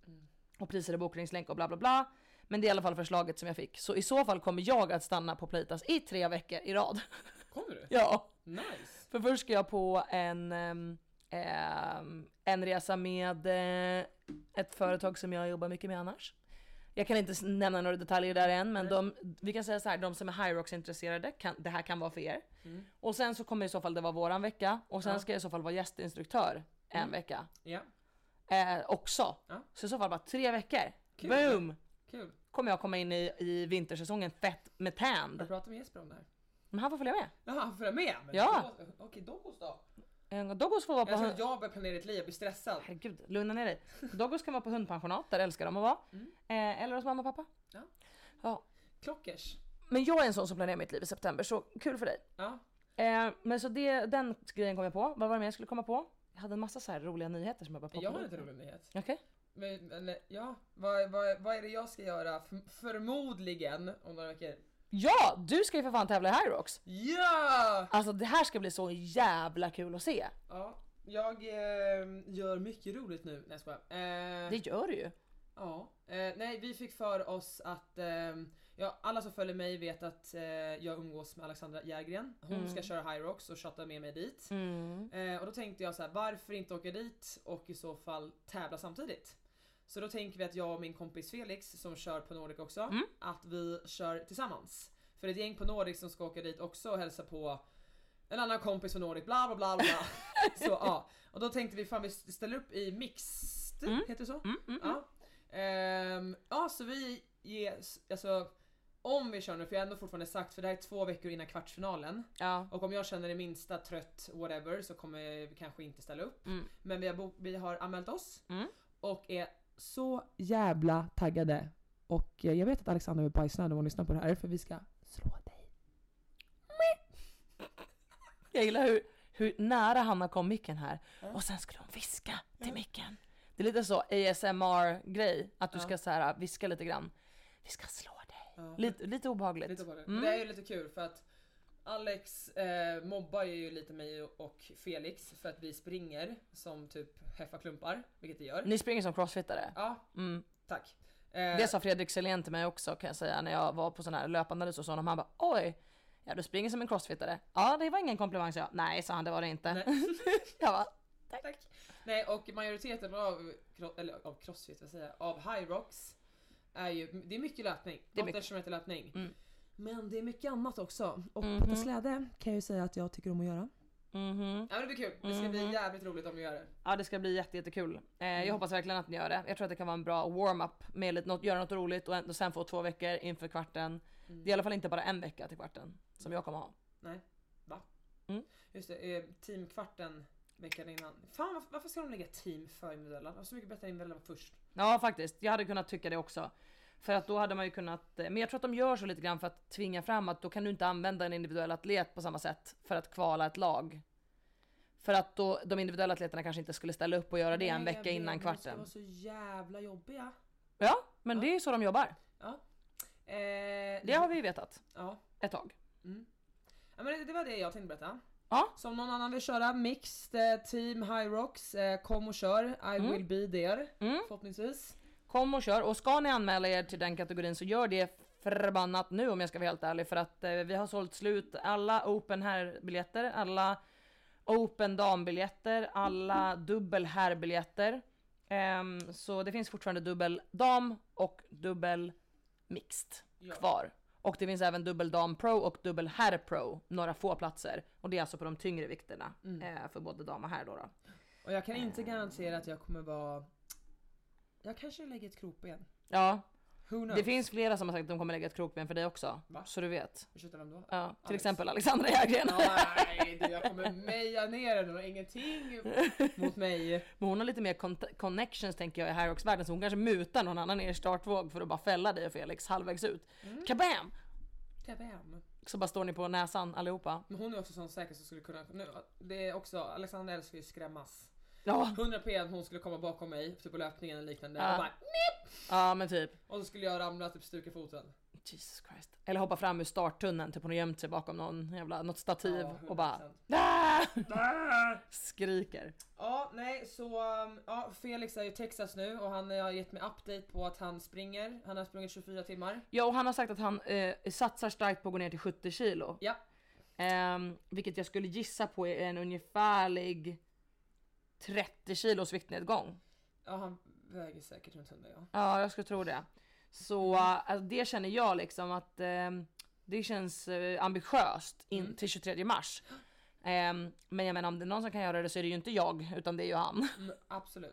och priser och bokningslänk och bla bla bla. Men det är i alla fall förslaget som jag fick. Så i så fall kommer jag att stanna på Pleitas i tre veckor i rad. Kommer du? ja. Nice! För först ska jag på en, ehm, ehm, en resa med eh, ett företag som jag jobbar mycket med annars. Jag kan inte s- nämna några detaljer där än, men de, vi kan säga så här, de som är Hyrox intresserade, kan, det här kan vara för er. Mm. Och sen så kommer i så fall det vara våran vecka och sen ska jag i så fall vara gästinstruktör en vecka Mm. Ja, eh, också. Ja. Så i så fall bara tre veckor. Kul. Boom! kul. Kommer jag komma in i, i vintersäsongen fett med Jag tänd. pratar med Jesper om det här. Men han får följa med. Jaha, han följer med? Men Ja. då- Okej, Doggos då? Eh, Doggos får vara på... Jag tror att jag börjar planera ett liv, jag blir stressad. Herregud, lugna ner dig. Doggos kan vara på hundpensionat, där älskar de att vara. Eh, eller hos mamma och pappa. Mm. Ja. Ja. Klockers. Men jag är en sån som planerar mitt liv i september, så kul för dig. Ja. Eh, men så det, den grejen kom jag på. Vad var det mer jag skulle komma på? Jag hade en massa så här roliga nyheter som jag bara poppade Jag har upp. inte rolig nyhet. Okej. Men, men ja, vad, vad, vad är det jag ska göra F- förmodligen om några veckor? Ja! Du ska ju för fan tävla i Hyrox. Ja! Alltså det här ska bli så jävla kul att se. Ja, jag eh, gör mycket roligt nu. Nej jag skojar. eh, Det gör du ju. Ja. Eh, nej, vi fick för oss att eh, Ja, alla som följer mig vet att eh, jag umgås med Alexandra Järgren. Hon Mm. ska köra High Rocks och chatta med mig dit. Mm. Eh, och då tänkte jag så här, varför inte åka dit och i så fall tävla samtidigt? Så då tänker vi att jag och min kompis Felix som kör på Nordic också, Mm. att vi kör tillsammans. För det är ett gäng på Nordic som ska åka dit också och hälsa på en annan kompis på Nordic, bla bla bla bla. så ja, och då tänkte vi fan vi ställer upp i mixed, Mm. heter det så? Mm, mm, mm. Ja. Ehm, ja, så vi ger, alltså om vi kör nu, för jag har ändå fortfarande sagt, för det här är två veckor innan kvartsfinalen. Ja. Och om jag känner det minsta trött, whatever, så kommer vi kanske inte ställa upp. Mm. Men vi har, bo- vi har anmält oss Mm. och är så jävla taggade. Och eh, jag vet att Alexandra är bajsnödig om hon lyssnar på det här, för vi ska slå dig. Jag gillar hur, hur nära Hanna kom micken här. Och sen skulle hon viska till micken. Det är lite så ASMR-grej, att du ska så här, äh, viska lite grann. Vi ska slå dig. Lite, lite obehagligt. Lite på det. Mm. det är ju lite kul för att Alex eh, mobbar ju lite mig och Felix för att vi springer som typ heffaklumpar, vilket vi gör. Ni springer som crossfittare. Ja, Mm. tack. Det Eh, sa Fredrik Selén till mig också kan jag säga när jag var på sån här löpanalys och sa honom. Han bara oj, ja du springer som en crossfittare. Ja det var ingen komplimang sa jag. Nej sa han det var det inte. jag bara, Tack. Nej och majoriteten av, kro- eller av crossfit, vad säger jag, av high rocks är ju, det är mycket löpning. Det Det är är mycket. som heter löpning. Mm. Men det är mycket annat också. Och Mhm. putta släde kan jag ju säga att jag tycker om att göra. mhm. Ja men det blir kul, det ska bli jävligt roligt om vi gör det. Ja det ska bli jätte, jättekul. Eh, jag Mm. hoppas verkligen att ni gör det. Jag tror att det kan vara en bra warm-up med lite, något, göra något roligt och, en, och sen få två veckor inför kvarten. Det är i alla fall inte bara en vecka till kvarten som jag kommer ha. Nej, va? Mm. Just det, eh, teamkvarten veckan innan. Fan varför, varför ska de lägga team för individuella? Det var så mycket bättre att individuella var först. Ja faktiskt, jag hade kunnat tycka det också. För att då hade man ju kunnat, eh, men jag tror att de gör så lite grann för att tvinga fram att då kan du inte använda en individuell atlet på samma sätt för att kvala ett lag. För att då, de individuella atleterna kanske inte skulle ställa upp och göra det en Nej, jag vecka vet, innan men De ska kvarten. vara så jävla jobbiga. Ja, men det är ju så de jobbar. Ja. Eh, Det har vi ju vetat Ja. ett tag. ja men det, det var det jag tänkte berätta. Ja, Så om någon annan vill köra mixed eh, team high rocks, eh, kom och kör. I Mm. will be there. Förhoppningsvis. kom och kör. Och ska ni anmäla er till den kategorin så gör det förbannat nu om jag ska vara helt ärlig. För att eh, vi har sålt slut alla open herrbiljetter, alla open dambiljetter, alla dubbel herrbiljetter. Ehm, så det finns fortfarande dubbel dam och dubbel mixed kvar. Och det finns även dubbel dam pro och dubbel herr pro, några få platser. Och det är alltså på de tyngre vikterna eh, för både dam och herr då. då. Och jag kan inte garantera att jag kommer vara... Jag kanske lägger ett krokben. Ja, Who knows? det finns flera som har sagt att de kommer lägga ett krokben för dig också. Va? Så du vet. Ursäkta vem då? Ja, till Alex. exempel Alexandra Järgren. Nej du jag kommer meja ner den och ingenting mot mig. Men hon har lite mer cont- connections tänker jag i Hyrox-världen så hon kanske mutar någon annan ner i startvåg för att bara fälla dig och Felix halvvägs ut. Kabam! Kabam. Så bara står ni på näsan allihopa. Men hon är också sån säker som skulle kunna... Nu, det är också, Alexandra älskar ju skrämmas. Ja, 100 p att hon skulle komma bakom mig, typ på löpningen eller liknande. Ja. Och, bara, ja men typ. och så skulle jag ramla typ stuka foten. Jesus Christ. Eller hoppa fram ur starttunneln, typ hon har gömt sig bakom någon jävla, något stativ Ja, 100%. och bara "Ah!" skriker. Ja, nej så um, ja, Felix är i Texas nu och han eh, har gett mig update på att han springer. Han har sprungit 24 timmar. Ja och han har sagt att han eh, satsar starkt på att gå ner till 70 kilo. Ja, Ehm, vilket jag skulle gissa på är en ungefärlig 30 kilos viktnedgång. ja han väger säkert runt 100 ja. Ja, jag skulle tro det. Så äh, alltså, det känner jag liksom att ehm, det känns eh, ambitiöst in till 23 mars. Ehm, men jag menar om det är någon som kan göra det så är det ju inte jag utan det är ju han. Mm, absolut.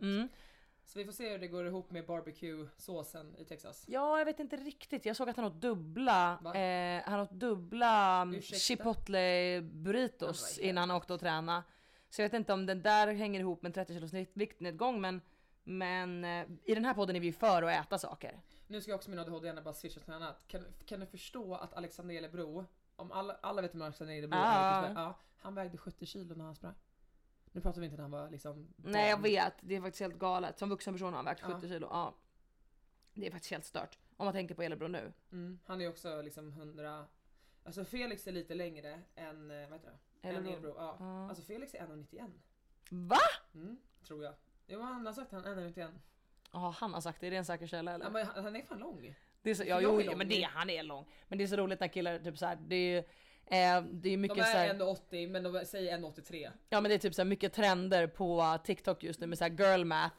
Så vi får se hur det går ihop med barbecue-såsen i Texas. Ja, jag vet inte riktigt. Jag såg att han åt dubbla, Va? eh, han åt dubbla mm, Ursäkta? chipotle burritos Oh my innan han åkte och tränade. Så jag vet inte om den där hänger ihop med 30 kilos viktnedgång men, men eh, i den här podden är vi ju för att äta saker. Nu ska jag också min ADHD-hjärna bara switcha till något annat. Kan, kan du förstå att Alexander Elebro, om alla, alla vet vem Alexander Elebro Ah. är, vet du- ja, han vägde 70 kilo när han sprang. Nu pratar vi inte när han var liksom Nej jag barn. vet, det är faktiskt helt galet. Som vuxen person har han vägt 70 Ja. kilo. Ja. Det är faktiskt helt stört. Om man tänker på Elebro nu. Mm, han är också liksom 100... Alltså Felix är lite längre än, eh, vad heter det? Än Elebro. Elebro. Ja. Ja. Alltså Felix är 1,91. Va? Mm, tror jag. Jo han har sagt han är 1,91. Ja han har sagt det, är det en säker källa eller? Ja, men han, han är fan lång. Det är så, ja, Jag jo, är jo, lång. men det, han är lång. Men det är så roligt när killar typ så här, det är ju eh, det är mycket De så här, är 1,80 men de säger 1,83. Ja men det är typ så här mycket trender på TikTok just nu med så här girl math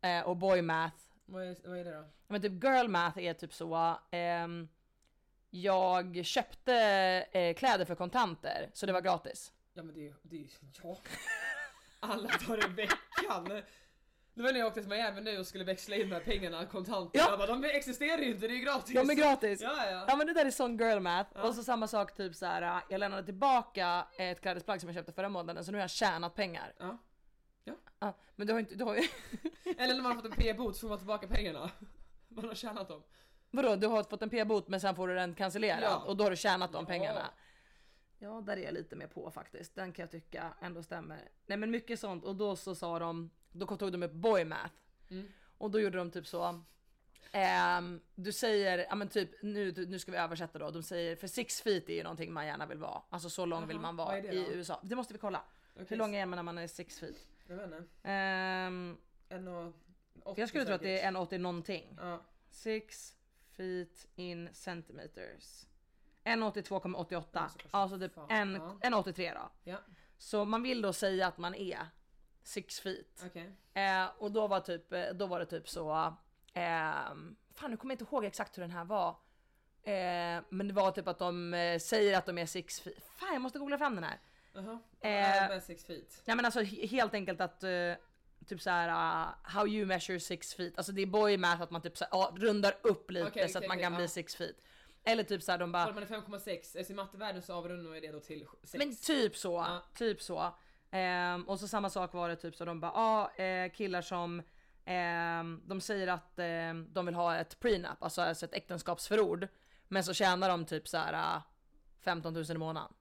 eh, och boy math. Vad är, vad är det då? Men typ girl math är typ så, ehm, jag köpte eh, kläder för kontanter så det var gratis. Ja men det är ju, det är ju, ja. Alla dagar i veckan. Det var när jag åkte till Miami nu och skulle växla in de här pengarna, kontanter. Ja. Jag bara, de existerar ju inte, det är ju gratis. De är gratis! Ja ja. Ja men det där är sån girl math. Och så samma sak typ så här. jag lämnade tillbaka ett klädesplagg som jag köpte förra månaden så nu har jag tjänat pengar. ja. Ja, men du har ju inte, du har ju, Eller när man har fått en p-bot så får man tillbaka pengarna. Man har tjänat dem. vadå du har fått en p-bot men sen får du den cancellerad Ja. och då har du tjänat de Ja. pengarna. Ja där är jag lite mer på faktiskt, den kan jag tycka ändå stämmer. Nej men mycket sånt och då så sa de, då tog de upp boy math. Och då gjorde de typ så. ehm, du säger, ja men typ nu, nu ska vi översätta då. De säger, för six feet är ju någonting man gärna vill vara. Alltså så lång vill Jaha, man vad vara är det i då? USA. Det måste vi kolla. Hur Okej, lång är man när man är six feet? Jag vet inte. Ehm, En och jag skulle tro att det är 1,80 någonting. Ja. Six feet in centimeters. 1,82,88. så pass. Alltså typ Fan, en- ja. 1,83 då. Ja, Så man vill då säga att man är six feet. okej. Eh, och då var, typ, eh, då var det typ så... ehm, fan nu kommer jag inte ihåg exakt hur den här var. Eh, men det var typ att de eh, säger att de är six feet. Fan jag måste googla fram den här. Jaha. Eh, Uh med six feet. Nej men alltså he- helt enkelt att eh, typ så här ah, how you measure six feet. Alltså det är boy math att man typ så här, ja, rundar upp lite Okej, så att okej, man okej, kan bli ja. six feet. Eller typ så här de bara Kollar man är 5,6, alltså i mattevärlden så avrundar man ju det då till 6. Men typ så, Ja. typ så. Ehm, och så samma sak var det typ så de bara, ah, eh, killar som ehm, de säger att ehm, de vill ha ett prenup, alltså, alltså ett äktenskapsförord. Men så tjänar de typ så här ah, 15 000 i månaden.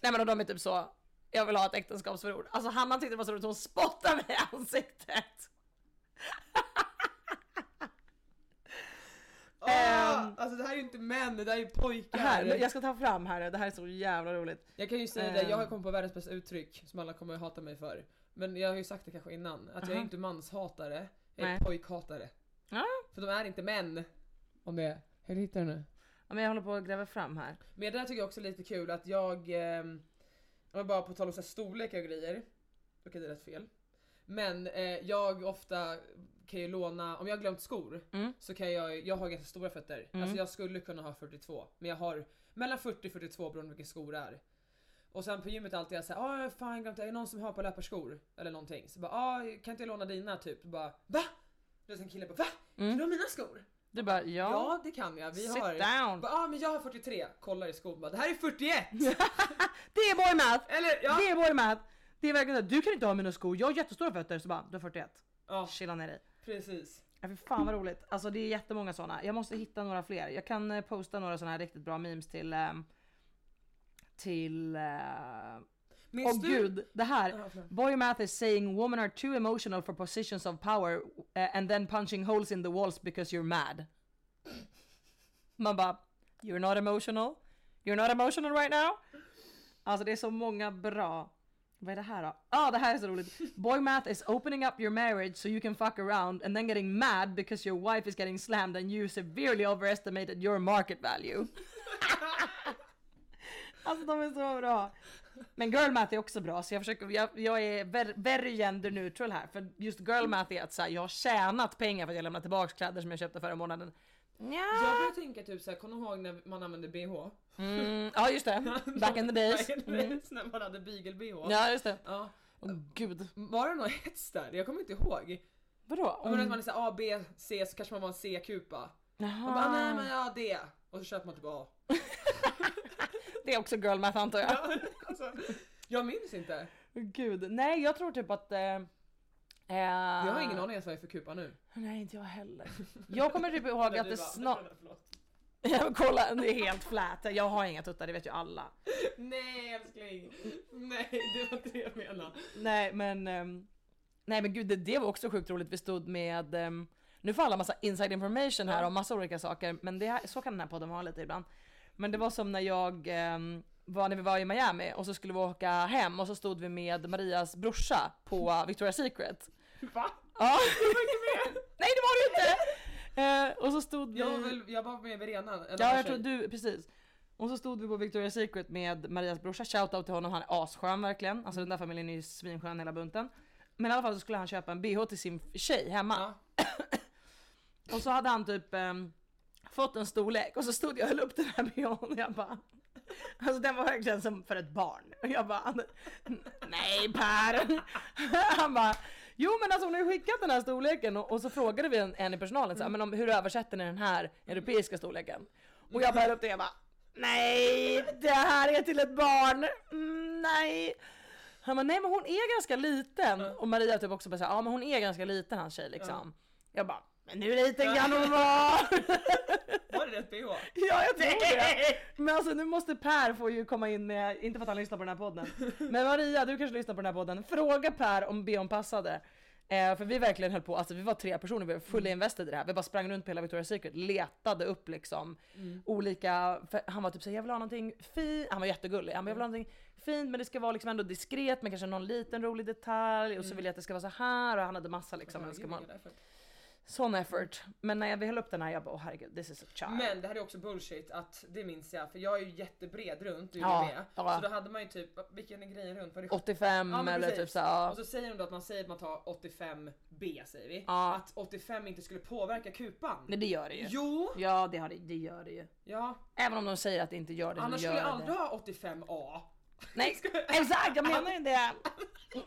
Nej men och de är typ så, jag vill ha ett äktenskapsförord. Alltså Hanna tyckte det var så roligt, hon spottade mig i ansiktet. Ah, alltså det här är ju inte män, det där är ju pojkar. ehm, Här, jag ska ta fram här, det här är så jävla roligt. Jag kan ju säga det, jag har Ehm. kommit på världens bästa uttryck som alla kommer att hata mig för. Men jag har ju sagt det kanske innan, att jag är Aha. inte manshatare, jag är Nej. pojkhatare. Ja. För de är inte män. Om det. Hur hittar du nu? Ja, men jag håller på att gräva fram här. Men det där tycker jag också är lite kul att jag, ehm, om jag bara på tal om så här storlekar och grejer, då kan det är rätt fel. Men eh, jag ofta kan ju låna, om jag har glömt skor Mm. så kan jag, jag har ganska stora fötter. Mm. Alltså jag skulle kunna ha 42 men jag har mellan 40 och 42 beroende på vilka skor det är. Och sen på gymmet alltid jag säger ah jag har fan glömt, är det någon som har på löparskor? Eller någonting. Så bara ah kan inte jag låna dina typ? Och bara va? Då är det en kille bara va? Mm. Kan du ha mina skor? Du bara, Ja, ja. det kan jag, vi Sit har. down. Bara, ah men jag har 43, kollar i skon bara det här är 41! Det är boy math! Eller ja! Det är vår mat. Det är verkligen såhär, du kan inte ha mina skor, jag har jättestora fötter. Så bara, du har 41. Ja Chilla ner dig. precis. Ja, fy fan vad roligt. Alltså det är jättemånga såna. Jag måste hitta några fler. Jag kan eh, posta några såna här riktigt bra memes till... ehm, till... eh, Åh Minns du? gud, det här. Ja, förlåt. Boy math is saying women are too emotional for positions of power eh, and then punching holes in the walls because you're mad. Man bara, you're not emotional. You're not emotional right now. Alltså det är så många bra. Vad är det här då? Ah, det här är så roligt. Boy math is opening up your marriage so you can fuck around and then getting mad because your wife is getting slammed and you severely overestimated your market value. alltså de är så bra. Men girl math är också bra så jag försöker, jag, jag är ver, very gender neutral här. För just girl math är att så här, jag har tjänat pengar för att jag lämnat tillbaka kläder som jag köpte förra månaden. Nja. Jag börjar tänka typ såhär, kommer du ihåg när man använde bh? Mm, ja just det, back in the days. Back in the Mm. days, När man hade beagle-bh. Ja just det. Ja. Åh gud. Var det någon hets där? Jag kommer inte ihåg. Vadå? Om mm. man är såhär A, B, C så kanske man var en C-kupa. Man bara, nej men ja D. Och så köper man typ A. Det är också girl math antar jag. alltså, jag minns inte. Gud, nej jag tror typ att... Eh, Jag har Ah. ingen aning ens vad jag är för kupa nu. Nej inte jag heller. Jag kommer typ ihåg När att du det bara, snart... förlåt. Ja, kolla, det är helt flät. Jag har inga tuttar, det vet ju alla. Nej älskling. Nej det var inte det jag menade. Nej men... ehm, nej men gud, det, det var också sjukt roligt. Vi stod med... ehm, nu får alla massa inside information här om massa olika saker, men det här, så kan den här podden vara lite ibland. Men det var som när jag ehm, var när vi var i Miami och så skulle vi åka hem och så stod vi med Marias brorsa på Victoria's Secret. Va? Ja. Jag var inte med. Nej det var du inte! Eh, och så stod vi... Jag var, väl, jag var med Verena. en annan Ja, jag tjej. tror du, precis. Och så stod vi på Victoria's Secret med Marias brorsa, shoutout till honom, han är asskön verkligen. Alltså den där familjen är ju svinskön hela bunten. Men i alla fall så skulle han köpa en bh till sin tjej hemma. Ja. Och så hade han typ ehm, fått en storlek och så stod jag och höll upp den här bhn och jag bara Alltså den var verkligen som för ett barn. Och jag bara Nej Per! Han bara Jo men alltså hon har ju skickat den här storleken och, och så frågade vi en, en i personalen så här, men om, hur översätter ni den här europeiska storleken? Och jag bara höll upp den och jag bara Nej! Det här är till ett barn! Mm, nej! Han bara, nej men hon är ganska liten. Och Maria typ också bara såhär, ja men hon är ganska liten hans tjej liksom. Jag bara, men hur liten kan hon vara? Var det rätt bh? ja jag tror det. Men alltså nu måste Per få ju komma in med, inte för att han lyssnar på den här podden. Men Maria, du kanske lyssnar på den här podden. Fråga Per om BHn passade. Eh, för vi verkligen höll på, alltså vi var tre personer, vi var fully invested i det här. Vi bara sprang runt på hela Victoria's Secret, letade upp liksom olika, för han var typ såhär jag vill ha någonting fint, han var jättegullig, han bara, jag vill ha någonting fint men det ska vara liksom ändå diskret med kanske någon liten rolig detalj och så vill jag att det ska vara så här och han hade massa liksom önskemål. Sån effort. Men när jag höll upp den här jag bara åh herregud this is a child. Men det här är också bullshit att det minns jag för jag är ju jättebred runt du Ja, med. ja. Så då hade man ju typ, vilken är grejen runt? Var det 85 Ja, men eller precis. typ såhär. Och så säger de då att man säger att man tar 85B säger vi. Ja. Att 85 inte skulle påverka kupan. Nej det gör det ju. Jo! Ja det, har det, det gör det ju. Ja, Även om de säger att det inte gör det annars så gör skulle jag det. aldrig ha 85A. Nej exakt jag menar ju det.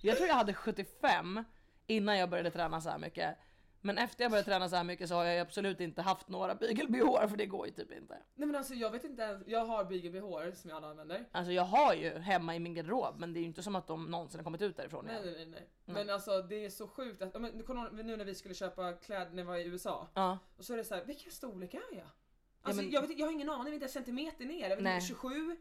jag tror jag hade 75 innan jag började träna så här mycket. Men efter jag började träna så här mycket så har jag ju absolut inte haft några bygel-bh för det går ju typ inte. Nej men alltså jag vet inte ens, jag har bygel-bh som jag alla använder. Alltså jag har ju hemma i min garderob men det är ju inte som att de någonsin har kommit ut därifrån Nej, igen. nej, nej, nej. Men alltså det är så sjukt att, ja, men, kommer du ihåg nu när vi skulle köpa kläder när vi var i USA. Ja. Och så är det så här, vilken storlek är jag? Alltså, men- jag, vet, inte- jag har ingen aning, jag vet inte en centimeter ner. Jag vet Nej. inte, 27,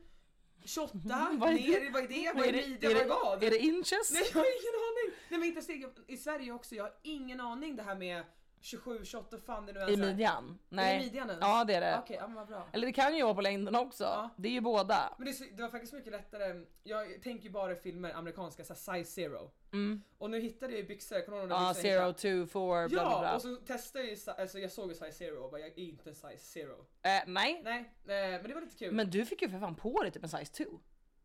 28, Vad är ner, det? vad är det? Vad är midja? Vad är vad? Är det inches? Nej jag har ingen aning! Nej men inte ens det. i Sverige också, jag har ingen aning det här med 27, 28, fan det nu ens I är. midjan? alltså. Är Nej. det midjan ens? Ja det är det. Okej, ja men vad bra. Eller det kan ju vara på längden också. Ja. Det är ju båda. Men det, är så- det var faktiskt mycket lättare, jag tänker ju bara i filmer, amerikanska, så här, size zero. Och nu hittade jag ju byxor, kommer du ihåg de Mm. Ja, byxorna jag zero, hittade? two, four, bla bla bla. Ja! Och så testade jag ju, si- alltså jag såg ju size zero och bara jag är inte en size zero. Eh, nej. Nej, eh, men det var lite kul. men du fick ju för fan på dig typ en size 2.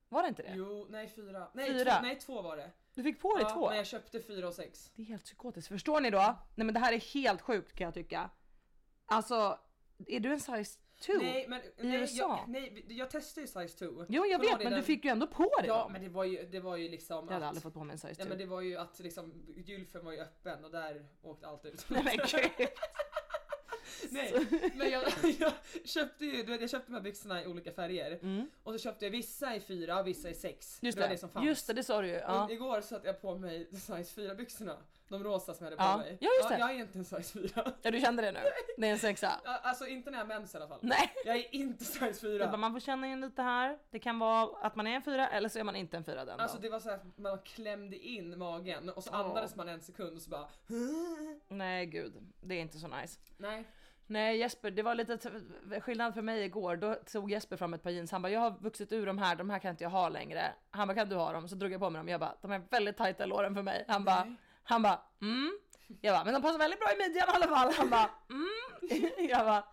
Var det inte det? Jo, nej fyra. Nej, Fyra. Två, nej två var det. Du fick på dig Ja, två. men jag köpte fyra och sex. Det är helt psykotiskt. Förstår ni då? Nej men det här är helt sjukt kan jag tycka. Alltså, är du en size 2? Nej, men nej, USA. jag, nej, vi- jag testade ju size 2. Jo jag vet men du fick ju ändå på dig Ja dem. men det var ju, det var ju liksom Jag hade att- aldrig fått på mig en size 2. Nej men det var ju att liksom gylfen var ju öppen och där åkte allt ut. Nej men gud. Nej, men jag, jag köpte ju, du vet, jag köpte de här byxorna i olika färger. Och så köpte jag vissa i fyra och vissa i sex. Mm. Just det var det, det som fanns. just det, det sa du ju. Ja. Och igår satte jag på mig size 4 byxorna. De rosa som jag hade på Ja. mig. Ja, just det. Jag är inte en size 4. ja du kände det nu? Det är en sexa. Ja, Alltså inte när jag har mens i alla fall. Nej. Jag är inte size 4. Jag bara, man får känna in lite här. Det kan vara att man är en fyra eller så är man inte en fyra den Alltså dagen. det var såhär, man klämde in magen och så andades man en sekund och så bara Nej gud, det är inte så nice. Nej. Nej Jesper, det var lite t- skillnad för mig igår. Då tog Jesper fram ett par jeans. Han bara, jag har vuxit ur de här, de här kan inte jag ha längre. Han bara, kan du ha dem? Så drog jag på mig dem. Jag bara, de är väldigt tajta i låren för mig. Han bara, han bara, mm. Jag bara, men de passar väldigt bra i midjan i alla fall. Han bara, mm. Jag bara,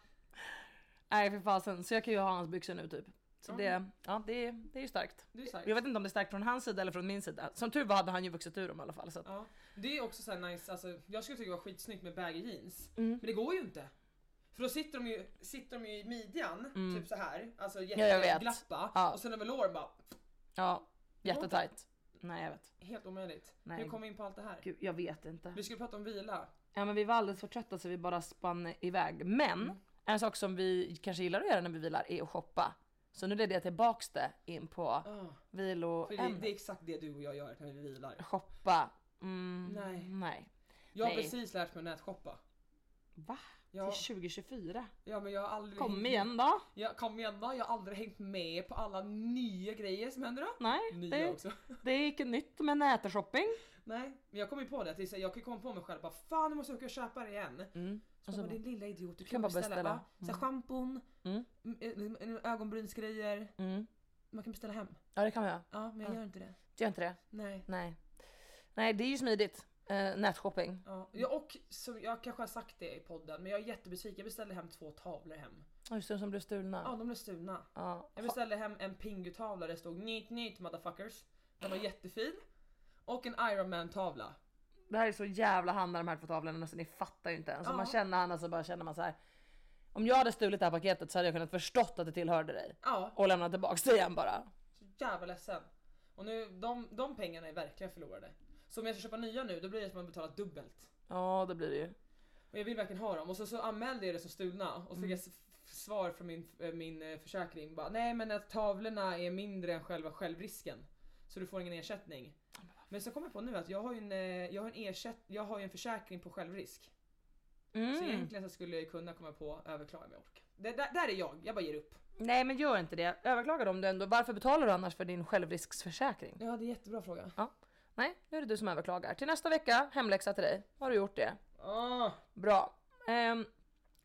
nej för fasen. Så jag kan ju ha hans byxor nu typ. Så det, ja det, det är ju starkt. Det är starkt. Jag vet inte om det är starkt från hans sida eller från min sida. Som tur var hade han ju vuxit ur dem i alla fall. Så att, Ja. Det är också såhär nice, alltså, jag skulle tycka det var skitsnyggt med baggy jeans. Mm. Men det går ju inte. För då sitter de ju, sitter de ju i midjan, typ så här, alltså Mm. jag vet. jätteglappa. Ja. Och sen över låren bara, ja, jättetajt. Nej jag vet. helt omöjligt. Nej. Hur kom vi in på allt det här? Gud, jag vet inte. Vi skulle prata om vila. Ja men vi var alldeles för trötta så vi bara spann iväg. Mm. Men en sak som vi kanske gillar att göra när vi vilar är att shoppa. Så nu ledde jag tillbaks det in på För det, det är viloämnet. exakt det du och jag gör när vi vilar. Shoppa. Mm, Nej. nej. Jag har Nej. precis lärt mig att nätshoppa. Va? Ja. Mm. Till 2024? Ja men jag har aldrig... Kom hängt- igen då. Jag, kom igen då, jag har aldrig hängt med på alla nya grejer som händer då. Nej, Nya det, också. det är inte nytt med nätershopping. Nej, men jag kom ju på det att det är så här, jag kan komma på mig själv bara fan nu måste jag åka och köpa det igen. Så, Och och så så bara, bara- din lilla idiot, du Mm. Alltså, kan bara kan bara beställa. beställa. Mm. va? Så här, schampon, m- m- m- ögonbrynsgrejer. Mm. Man kan beställa hem. Ja det kan jag. Ja men jag gör inte det. Gör inte det? Nej. Nej. Nej det är ju smidigt. Eh, nätshopping. Ja, ja, och som jag kanske har sagt det i podden, men jag är jättebesviken. Jag beställde hem två tavlor hem. Ja, Just det, som blev stulna. Ja, de blev stulna. Ja. Jag beställde hem en pingutavla där det stod neat neat motherfuckers. Den var jättefin. Och en Iron Man tavla. Det här är så jävla Hanna de här två tavlorna så ni fattar ju inte. Alltså, Man känner Hanna så bara känner man så här. Om jag hade stulit det här paketet så hade jag kunnat förstått att det tillhörde dig. Ja, Och lämnat tillbaks det igen bara. så jävla ledsen. Och nu, de, de pengarna är verkligen förlorade. Så om jag ska köpa nya nu då blir det som att man betalar dubbelt. Ja det blir det ju. Och jag vill verkligen ha dem. Och så, så anmälde jag det som stulna och så fick jag s- f- svar från min, eh, min eh, försäkring. Bara, Nej men att tavlorna är mindre än själva självrisken. Så du får ingen ersättning. Men så kommer jag på nu att jag har ju en, eh, jag har en, ersätt, jag har ju en försäkring på självrisk. Mm. Så egentligen så skulle jag ju kunna komma på överklaga om jag orkar. Det, där, där är jag, jag bara ger upp. Nej men gör inte det. Överklagar om du ändå. Varför betalar du annars för din självriskförsäkring? Ja det är jättebra fråga. Ja. Nej, nu är det du som överklagar. Till nästa vecka, hemläxa till dig. Har du gjort det? Ah, Bra. Ehm,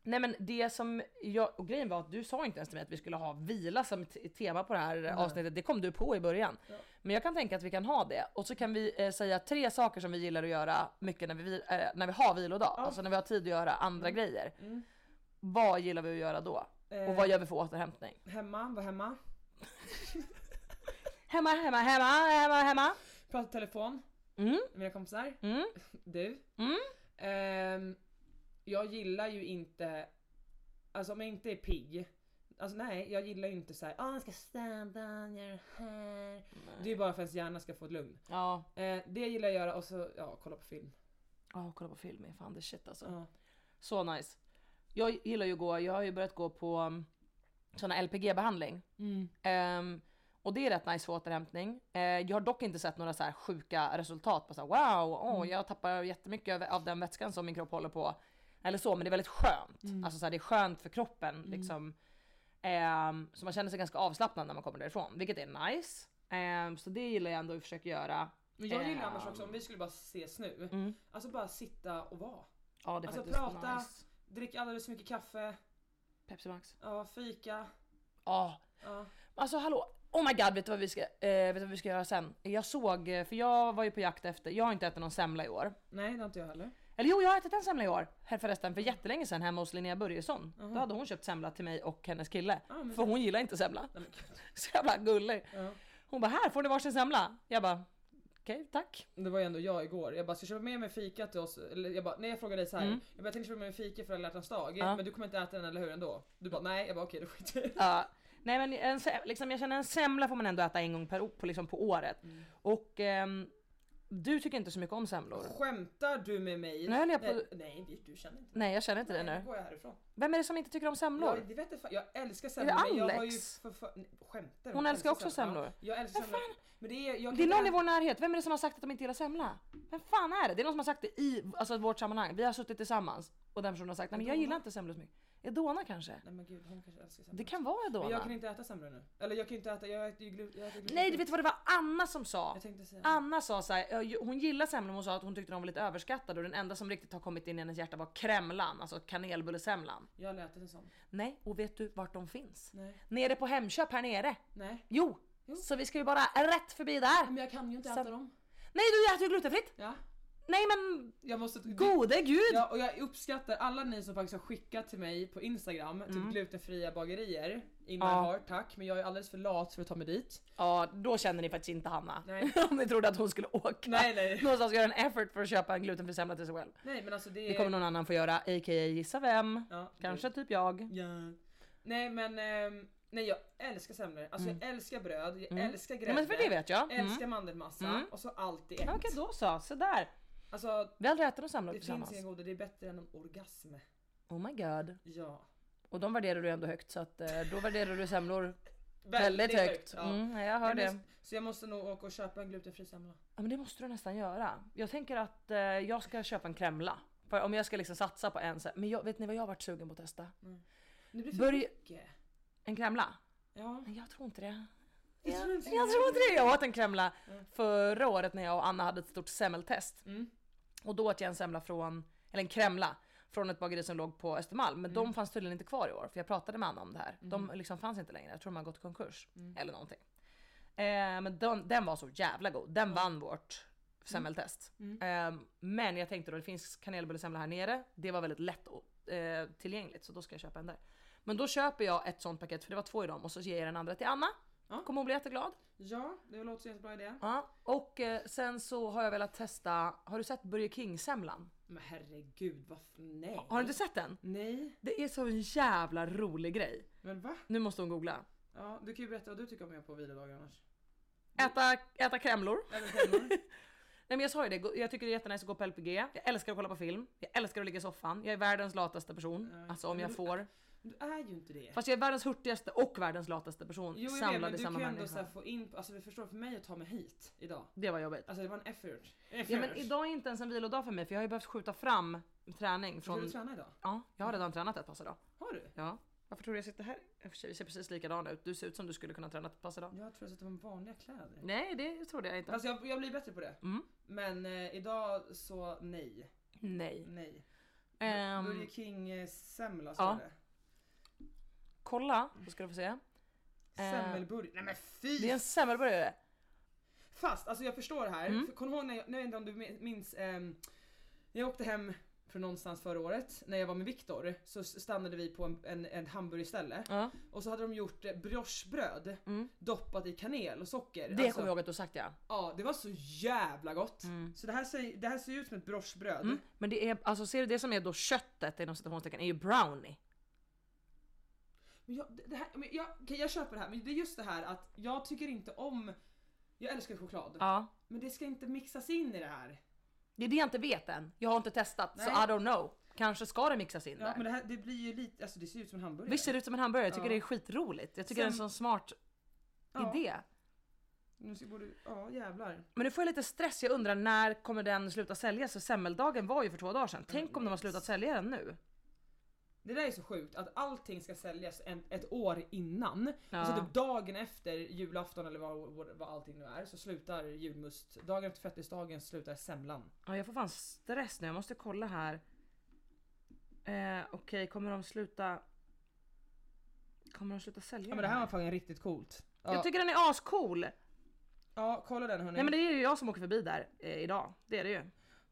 nej men det som jag, och grejen var att du sa inte ens till mig att vi skulle ha vila som t- tema på det här avsnittet. Det kom du på i början. Men jag kan tänka att vi kan ha det. Och så kan vi eh, säga tre saker som vi gillar att göra mycket när vi, vi- eh, när vi har vilodag. Alltså när vi har tid att göra andra grejer. Vad gillar vi att göra då? Och vad gör vi för återhämtning? hemma, var hemma. Hemma, hemma, hemma, hemma, hemma. Mm. Prata i telefon. Med mina kompisar. Du. Ehm, jag gillar ju inte, alltså om jag inte är pigg. Alltså nej, jag gillar ju inte såhär, ah jag ska städa, göra det här. Det är bara för att ens hjärna ska få ett lugn. Ja, Eh, det gillar jag att göra och så, ja kolla på film. oh, kolla på film är fan det är shit alltså. Ja. Så nice. Jag gillar ju att gå, jag har ju börjat gå på um, sån här LPG-behandling. Mm. Ehm, och det är rätt nice för återhämtning. Eh, jag har dock inte sett några så här sjuka resultat på så här, wow, åh, Mm. jag tappar jättemycket av, av den vätskan som min kropp håller på. Eller så, men det är väldigt skönt. Mm. Alltså så här, det är skönt för kroppen liksom. Ehm, så man känner sig ganska avslappnad när man kommer därifrån, vilket är nice. Ehm, så det gillar jag ändå att försöka göra. Men jag gillar Ehm, annars också om vi skulle bara ses nu. Alltså bara sitta och vara. Ja, det är Alltså faktiskt prata, nice. drick alldeles för mycket kaffe, Pepsi Max. ja fika. Ja. Alltså hallå. Oh my god, vet du vad vi ska, eh, vet du vad vi ska göra sen? Jag såg, eh, för jag var ju på jakt efter, jag har inte ätit någon semla i år. Nej det har inte jag heller. Eller jo, jag har ätit en semla i år. Här förresten, för jättelänge sedan hemma hos Linnea Börjesson. Då hade hon köpt semla till mig och hennes kille. för hon gillar inte semla. Så jävla gullig. Hon bara, här får ni varsin semla. Jag bara, okej tack. Det var ju ändå jag igår. Jag bara ska jag köpa med mig fika till oss? Eller jag bara, nej jag frågade dig så här. Mm. Jag bara, jag tänkte köpa med mig fika för alla hjärtans dag. Men du kommer inte äta den eller hur ändå? Du bara nej. Jag bara okej då skiter jag i det." Ja. Nej men en, se- liksom, jag känner en semla får man ändå äta en gång per, o- på, liksom, på året. Och ehm, du tycker inte så mycket om semlor. Mm. Skämtar du med mig? Nu höll jag på- nej, nej det- du känner inte. Nej jag känner inte det Nej, nu. nu går jag härifrån. Vem är det som inte tycker om semlor? Jag, det vet jag, fan- jag älskar det semlor men jag har ju Alex? för, för, nej, Skämtar du? Hon Jag älskar också semlor. Ja, jag älskar semlor. Men det är, jag kan Det är inte någon i äta- vår närhet, vem är det som har sagt att de inte gillar semla? Vem fan är det? Det är någon som har sagt det i alltså, vårt sammanhang, vi har suttit tillsammans och den personen har sagt nej men jag gillar inte semlor så mycket. Edona kanske? Nej men gud hon kanske älskar semlor. Det kan vara Men jag Edona. kan inte äta semlor nu. Eller jag kan ju inte äta, jag äter ju glu- jag äter gluten. Nej du vet vad det Ah. var Anna som sa? Jag tänkte säga. Anna sa så här, "Ja, ju- hon gillar semlor men hon sa att hon tyckte de var lite överskattade och den enda som riktigt har kommit in i hennes hjärta var kremlan, alltså kanelbullesemlan. Jag har aldrig ätit en sån. Nej, och vet du vart de finns? Nej. Nere på Hemköp här nere. Nej. Jo, så vi ska ju bara rätt förbi där. Men jag kan ju inte Sen- äta dem. Nej du äter ju glutenfritt! Ja. Nej men Jag måste... gode gud! Ja, och jag uppskattar alla ni som faktiskt har skickat till mig på Instagram, typ glutenfria bagerier. In my Mm. Ja. heart, tack. Men jag är alldeles för lat för att ta mig dit. Ja, då känner ni faktiskt inte Hanna. Nej. Om ni trodde att hon skulle åka Nej, nej. någonstans och göra en effort för att köpa en glutenfri semla till sig själv. Nej men alltså det är... Det kommer någon annan få göra, a.k.a. gissa vem. Ja, Kanske typ jag. Ja. Nej men, ehm, nej jag älskar semlor. Alltså jag älskar bröd, jag älskar grädde. Mm. Ja, men för det vet jag. Mm. Älskar mandelmassa och så allt i ett. Ja, Okej då så, se där. Alltså Vi har aldrig ätit någon semla det finns tillsammans. inga goda, det är bättre än en orgasm. Oh my god. Ja. Och de värderar du ändå högt så att eh, då värderar du semlor Väldigt väldigt högt, högt. ja. Mm, ja, jag hör Nej, det. men- Så jag måste nog åka och köpa en glutenfri semla. Ja men det måste du nästan göra. Jag tänker att eh, jag ska köpa en kremla. För om jag ska liksom satsa på en se- Men jag, vet ni vad jag har varit sugen på att testa? Mm. Det blir för Börj- mycket. En kremla? Ja. Men jag tror inte det. Jag tror inte Jag tror inte det. Jag åt en kremla förra året när jag och Anna hade ett stort semmeltest. Mm. Och då åt jag en semla från, eller en kremla från ett bageri som låg på Östermalm. Men Mm. de fanns tydligen inte kvar i år för jag pratade med Anna om det här. De liksom fanns inte längre. Jag tror de har gått i Mm. konkurs eller någonting. Eh, men den, den var så jävla god. Den vann vårt semmeltest. Mm. Ehm, men jag tänkte då, det finns kanelbullesemla här nere. Det var väldigt lätt eh, tillgängligt så då ska jag köpa en där. Men då köper jag ett sånt paket, för det var två i dem, och så ger jag den andra till Anna. Ja. Kommer hon bli jätteglad. Ja, det låter som en bra idé. Ja. Och eh, sen så har jag velat testa, har du sett Burger King-semlan? Men herregud, vad... f- Nej. Har du inte sett den? Nej. Det är så en jävla rolig grej. Men va? Nu måste hon googla. Ja, du kan ju berätta vad du tycker om att göra på vilodagar annars. Äta, äta kremlor. Eller självmord. Nej men jag sa ju det, gå- jag tycker det är jättenice att gå på LPG. Jag älskar att kolla på film. Jag älskar att ligga i soffan. Jag är världens lataste person. Ja, Alltså om men jag du- får. Du är ju inte det. Fast jag är världens hurtigaste och världens lataste person Jo jag vet, samlad men i du kan samma ju ändå människa. så här få in, alltså vi förstår för mig att ta mig hit idag. Det var jobbigt. Alltså det var en effort. effort. Ja men idag är inte ens en vilodag för mig för jag har ju behövt skjuta fram träning Ska från... du träna idag? Ja, jag har redan tränat ett pass idag. Har du? Ja. Varför tror du jag sitter här? I och för sig, Vi ser precis likadana ut. Du ser ut som du skulle kunna träna ett pass idag. Jag tror jag sitter med vanliga kläder. Nej, det trodde jag inte. Alltså jag, jag blir bättre på det. Mm. Men eh, idag så nej. Nej. Nej. Ehm, Burger King eh, semla ja. står det. kolla, så ska du få se. Ehm, Semmelburgare. Nej men fy! eh, Det är en semmelburgare. Fast alltså jag förstår det här. Mm. För, kom ihåg när jag, jag vet inte om du min- minns, ehm, när jag åkte hem från någonstans förra året när jag var med Viktor så s- stannade vi på en, en, en hamburgerställe Ja. Mm. och så hade de gjort eh, briochebröd doppat i kanel och socker. Alltså, Det kommer jag ihåg Mm. att du har sagt ja. Ja, det var så jävla gott. Så det här, ser, det här ser ju ut som ett briochebröd. Men det är, alltså ser du det som är då köttet inom citationstecken är ju brownie. Men jag, det- det här, men jag, okej, jag köper det här, men det är just det här att jag tycker inte om... Jag älskar choklad, Ja. men det ska inte mixas in i det här. Det är det jag inte vet än. Jag har inte testat så I Nej. don't know. Kanske ska det mixas in Ja, där. men det här det blir ju lite, alltså det ser ut som en hamburgare. Visst ser det ut som en hamburgare? Jag tycker Ja. det är skitroligt. Jag tycker det är en Sen- sån smart ja, idé. Nu ska borde, ja jävlar. Men nu får jag lite stress. Jag undrar när kommer den sluta säljas? Så semmeldagen var ju för två dagar sedan. Tänk om de har slutat sälja den nu? Det där är så sjukt att allting ska säljas en, ett år innan. Ja. Alltså typ dagen efter julafton eller vad, vad, vad allting nu är så slutar julmust. Dagen efter fettisdagen slutar semlan. Ja, jag får fan stress nu. Jag måste kolla här. Eh, Okej, kommer de sluta... Kommer de sluta sälja Ja men den det här här? var fan riktigt coolt. Ja, Jag tycker den är ascool! ja kolla den hörni. Nej men det är ju jag som åker förbi där eh, idag. Det är det ju.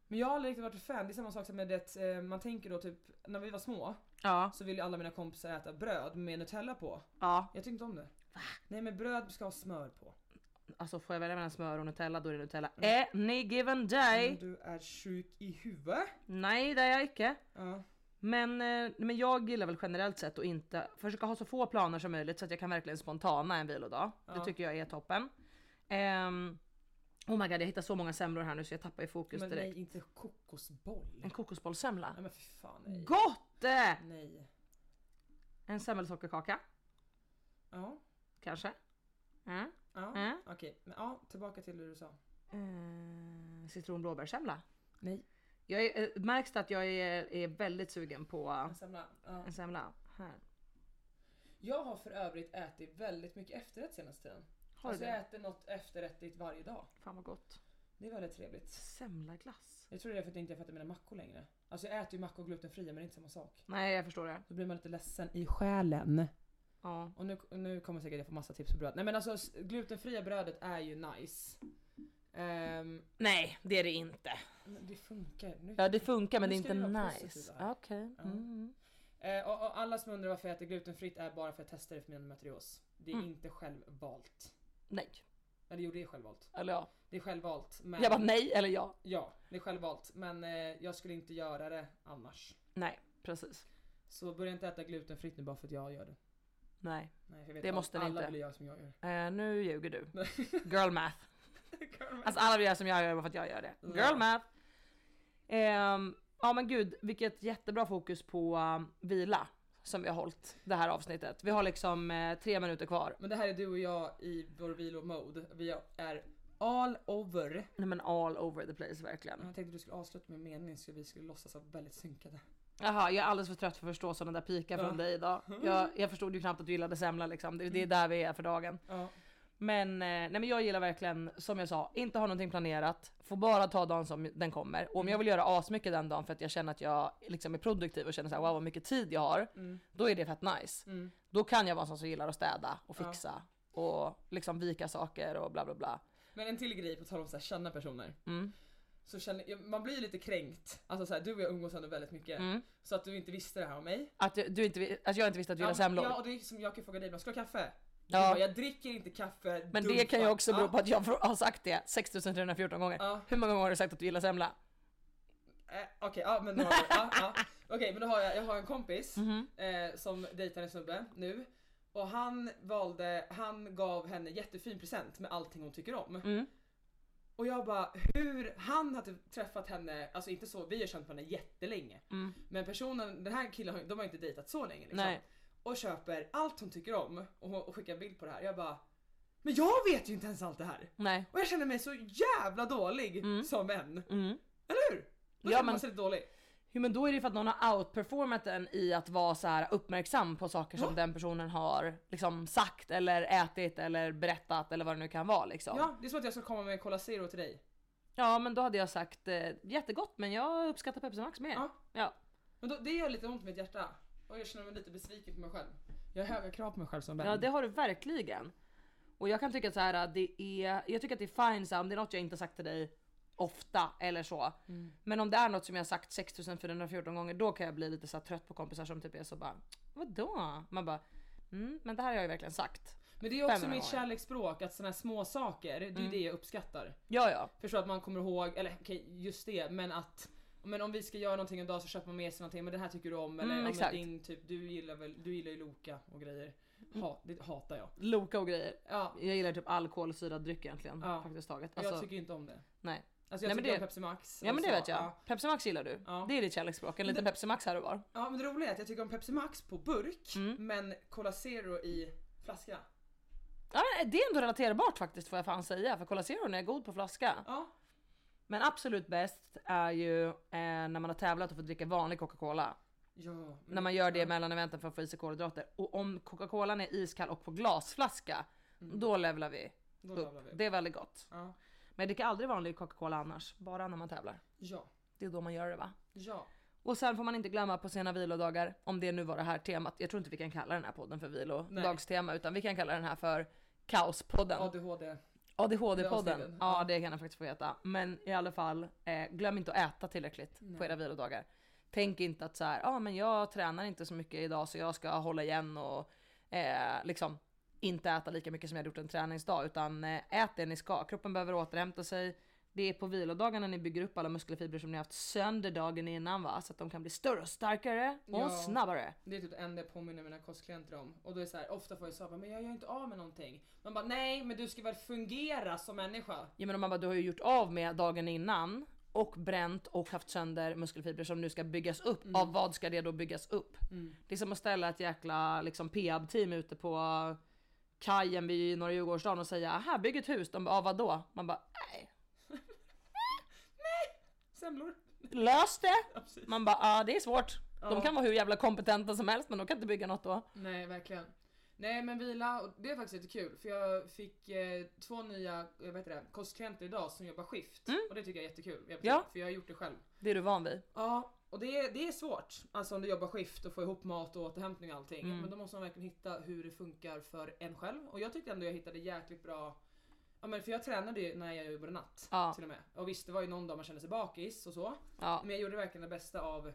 Men jag har aldrig riktigt varit ett fan, det är samma sak som med det eh, man tänker då typ när vi var små Ja. så ville ju alla mina kompisar äta bröd med Nutella på. Ja. Jag tyckte inte om det. Nej men bröd ska ha smör på. Alltså får jag välja mellan smör och Nutella då är det Nutella. Mm. Any given day! Men du är sjuk i huvudet. Nej det är jag inte. Ja. Men, eh, men jag gillar väl generellt sett att inte försöka ha så få planer som möjligt så att jag kan verkligen spontana en vilodag. Det Ja. tycker jag är toppen. Ehm, oh my god jag hittar så många semlor här nu så jag tappar i fokus Men direkt. nej inte kokosboll. En kokosbollssemla. Nej men för fan nej. Gott! eh! Nej. En semmelsockerkaka. Ja. Kanske. Mm. Ja. Mm. Okej. Men ja, tillbaka till det du sa. Eh, Citronblåbärssemla. Nej. Jag är, eh, märks det att jag är, är väldigt sugen på Semla. Ja. en semla? Här. Jag har för övrigt ätit väldigt mycket efterrätt senaste tiden. Har du alltså jag det? äter något efterrättigt varje dag. Fan vad gott. Det är väldigt trevligt. Semlaglass. Jag tror det är för att jag inte äter mina mackor längre. Alltså jag äter ju mackor glutenfria men det är inte samma sak. Nej jag förstår det. Då blir man lite ledsen i själen. Ja. Och nu, nu kommer säkert jag få massa tips på bröd. Nej men alltså s- glutenfria brödet är ju nice. Ehm, Nej det är det inte. men det funkar. Nu. Ja det funkar men det är Nu ska inte vi vara nice. positiva Okej. här. Ja. Mm. Eh, och, och alla som undrar varför jag äter glutenfritt är bara för att jag testade för min endometrios. Det är Mm. inte självvalt. Nej. Eller jo det är självvalt. Eller ja. Det är självvalt men... Jag bara nej eller ja. Ja, det är självvalt. Men eh, jag skulle inte göra det annars. Nej precis. Så börja inte äta glutenfritt nu bara för att jag gör det. Nej. Nej, för jag vet Det att måste ni alla inte. blir jag som jag gör. Eh, nu ljuger du. Girl math. Alltså alltså, alla gör som jag gör bara för att jag gör det. Girl Ja. math. Ehm, ja men gud vilket jättebra fokus på um, vila som vi har hållit det här avsnittet. Vi har liksom eh, tre minuter kvar. men det här är du och jag i vår vilo-mode. Vi är all over. Nej men all over the place verkligen. Jag tänkte du skulle avsluta med en mening så vi skulle låtsas vara väldigt synkade. Jaha, jag är alldeles för trött för att förstå sådana där pikar från Ja. Mm. dig idag. Jag, jag förstod ju knappt att du gillade semla liksom. Det, det är där vi är för dagen. Ja. Men, eh, nej, men jag gillar verkligen, som jag sa, inte ha någonting planerat. Får bara ta dagen som den kommer. Mm. Och om jag vill göra asmycket den dagen för att jag känner att jag liksom är produktiv och känner såhär wow vad mycket tid jag har. Mm. Då är det fett nice. Då kan jag vara en sån som gillar att städa och fixa. Och liksom vika saker och bla bla bla. Men en till grej på tal om så här, känna personer. Mm. Så känner, jag- man blir ju lite kränkt. Alltså så här, du och jag umgås ändå väldigt mycket. Mm. Så att du inte visste det här om mig. Att, du, du inte, vi- att jag inte visste att du Ja, gillade semlor. Ja och det är som jag kan fråga dig, men ska du ha kaffe? Du Ja. bara, jag dricker inte kaffe. Men det dumpa." kan ju också bero Ja. på att jag har sagt det 6314 gånger. Ja. Hur många gånger har du sagt att du gillar semla? Eh, Okej, ja men då har jag, ja, ja. Okej, men då har jag, jag har en kompis Mhm. eh, som dejtar en snubbe nu. Och han valde, han gav henne jättefin present med allting hon tycker om. Mm. Och jag bara hur, han hade träffat henne, alltså inte så, vi har känt varandra jättelänge. Men personen, den här killen, har- de har inte dejtat så länge liksom. Mm. Nej. Och köper allt hon tycker om och, hon- och skickar en bild på det här. Jag bara men jag vet ju inte ens allt det här! Nej. Och jag känner mig så jävla dålig som vän. Eller hur? Då Mm. Ja, känner man men- sig lite dålig. Jo, men då är det för att någon har outperformat en i att vara så här uppmärksam på saker som den personen har liksom sagt eller ätit eller berättat eller vad det nu kan vara liksom. Ja, det är som att jag ska komma med en Cola Zero till dig. Ja, men då hade jag sagt eh, jättegott men jag uppskattar Pepsi Max mer. Ja. Ja. Men då, det gör lite ont i mitt hjärta. Och jag känner mig lite besviken på mig själv. Jag har höga krav på mig själv som vän. Ja det har du verkligen. Och jag kan tycka att så här, det är, jag tycker att det är fine så här, om det är något jag inte har sagt till dig ofta eller så. Mm. Men om det är något som jag har sagt 6414 gånger då kan jag bli lite så här trött på kompisar som typ är så bara vadå? Man bara mm, men det här har jag ju verkligen sagt. Men det är också 500 gånger. mitt kärleksspråk, att såna här små saker, det är Mm. ju det jag uppskattar. Ja ja. Förstår att man kommer ihåg, eller okej just det, men att men om vi ska göra någonting en dag så köper man med sig någonting, men det här tycker du om eller Mm, ja, men exakt. din typ, du gillar väl, du gillar ju Loka och grejer. Ha, det hatar jag. Loka och grejer. Ja, Jag gillar typ alkoholsyrad dryck egentligen. Ja. Faktiskt taget. jag Alltså, tycker inte om det. nej. Alltså jag Nej, men tycker det- om Pepsi Max. Ja och men det så, vet jag. ja. Pepsi Max gillar du. Ja. Det är ditt kärleksspråk. En liten Pepsi Max här och var. Ja men det roliga är att jag tycker om Pepsi Max på burk Mm. men Cola Zero i flaska. Ja, men det är ändå relaterbart faktiskt får jag fan säga. För Cola Zero är god på flaska. Ja. Men absolut bäst är ju eh, när man har tävlat och får dricka vanlig Coca-Cola. ja men- När man gör det mellan eventen för att få i sig kolhydrater. Och om Coca-Colan är iskall och på glasflaska, då levlar vi Mm. Då upp. levlar vi upp. Det är väldigt gott. Ja. Men jag dricker aldrig vanlig Coca-Cola annars, bara när man tävlar. Ja. Det är då man gör det va? Ja. Och sen får man inte glömma på sena vilodagar, om det nu var det här temat. Jag tror inte vi kan kalla den här podden för vilodagstema, utan vi kan kalla den här för Kaospodden. ADHD. ADHD-podden. Avsnitten, Ja, ja. det kan den faktiskt få heta. Men i alla fall, eh, glöm inte att äta tillräckligt på era vilodagar. Tänk inte att så här, ja ah, men jag tränar inte så mycket idag så jag ska hålla igen och eh, liksom inte äta lika mycket som jag hade gjort en träningsdag. Utan eh, ät det ni ska. Kroppen behöver återhämta sig. Det är på vilodagarna ni bygger upp alla muskelfibrer som ni har haft sönder dagen innan va? Så att de kan bli större och starkare och Ja. snabbare. Det är typ det enda jag påminner mina kostklienter om. Och då är det så här, ofta får jag svara men jag gör inte av med någonting. Man bara nej men du ska väl fungera som människa. Ja men om man bara, du har ju gjort av med dagen innan och bränt och haft sönder muskelfibrer som nu ska byggas upp. Av vad ska det då byggas upp? Det är som att ställa ett jäkla liksom, PAB-team ute på kajen vid Norra Djurgårdsstaden och säga här bygg ett hus. De bara, ah, vadå? Man bara, nej. Semlor. "Äh, Lös det! precis. Man bara, ah, det är svårt. De kan vara hur jävla kompetenta som helst men de kan inte bygga något då. Nej verkligen. Nej men vila, och det är faktiskt lite kul för jag fick eh, två nya eh, vad heter det, kostklienter idag som jobbar skift. Och det tycker jag är jättekul. Jag betyder, Mm. Ja. För jag har gjort det själv. Det är du van vid. Ja, och det är, det är svårt. Alltså om du jobbar skift och får ihop mat och återhämtning och allting. Mm. Men då måste man verkligen hitta hur det funkar för en själv. Och jag tyckte ändå jag hittade jäkligt bra Ja men för jag tränade ju när jag jobbade natt Ja. till och med. Och visst det var ju någon dag man kände sig bakis och så. Ja, Men jag gjorde verkligen det bästa av... Ja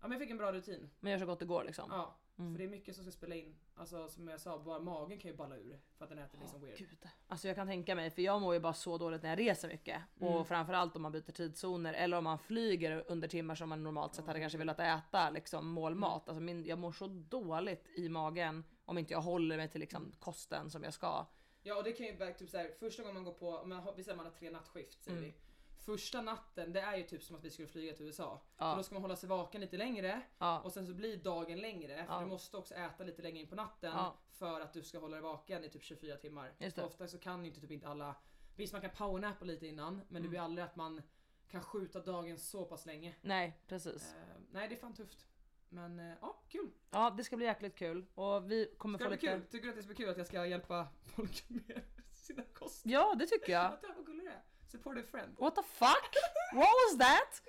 men jag fick en bra rutin. men gör så gott det går liksom. Ja. För det är mycket som ska spela in. Alltså som jag sa, bara magen kan ju balla ur. För att den äter liksom weird. Gud. Alltså jag kan tänka mig, för jag mår ju bara så dåligt när jag reser mycket. Mm. Och framförallt om man byter tidszoner eller om man flyger under timmar som man normalt sett Mm. hade kanske velat äta liksom målmat. Alltså min, jag mår så dåligt i magen om inte jag håller mig till liksom kosten som jag ska. Ja och det kan ju vara typ såhär, första gången man går på, om man har, vi säger man har tre nattskift säger Mm. vi. Första natten det är ju typ som att vi skulle flyga till USA. För då ska man hålla sig vaken lite längre Ja. och sen så blir dagen längre för du måste också äta lite längre in på natten Ja. för att du ska hålla dig vaken i typ 24 timmar. Just det. Och Ofta så kan ju inte typ inte alla, visst man kan powernappa lite innan men Mm. det blir aldrig att man kan skjuta dagen så pass länge. Nej precis. Eh, nej det är fan tufft. Men eh, ja, kul. Ja det ska bli jäkligt kul. Och vi kommer Ska få det bli lite... kul? Tycker du att det ska bli kul att jag ska hjälpa folk med sina kost? Ja det tycker jag. Vänta, vad gullig du är. Support a friend. What the fuck? What was that?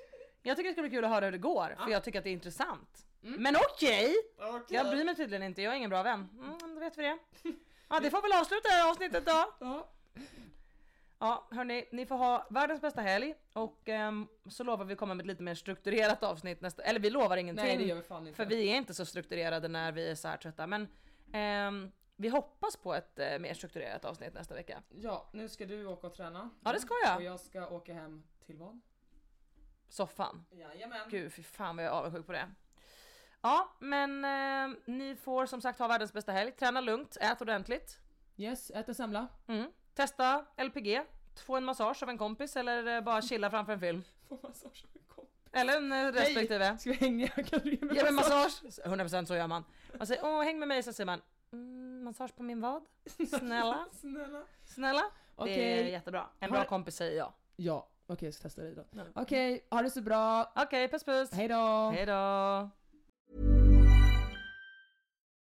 Jag tycker det ska bli kul att höra hur det går, Ah. för jag tycker att det är intressant. Mm. Men okej! Jag bryr mig tydligen inte, jag är ingen bra vän. Mm, då vet vi det. Ja, det får väl avsluta det här avsnittet då. Ja. Ja, hörni, ni får ha världens bästa helg och ehm, så lovar vi komma med ett lite mer strukturerat avsnitt nästa, eller vi lovar ingenting. Nej det gör vi fan inte. För vi är inte så strukturerade när vi är så här trötta, men ehm, vi hoppas på ett eh, mer strukturerat avsnitt nästa vecka. Ja, nu ska du åka och träna. Ja, det ska Och jag. jag ska åka hem till vad? Soffan. Jajamän. Gud, fy fan vad jag är avundsjuk på det. Ja, men eh, ni får som sagt ha världens bästa helg. Träna lugnt, ät ordentligt. Yes, ät och samla. Mm. Testa LPG, få en massage av en kompis eller eh, bara chilla framför en film. Få massage av en kompis. Eller en eh, respektive. Nej, Ska vi hänga? Kan du ge mig Ge mig massage? massage! 100% så gör man. Man säger åh häng med mig, så säger man mm, massage på min vad? Snälla, Snälla. snälla. Det är Okej. jättebra. En Har- bra kompis säger jag. Ja, okej jag ska testa dig då. Okej, ha det så bra. Okej, puss puss. Hej då. Hejdå.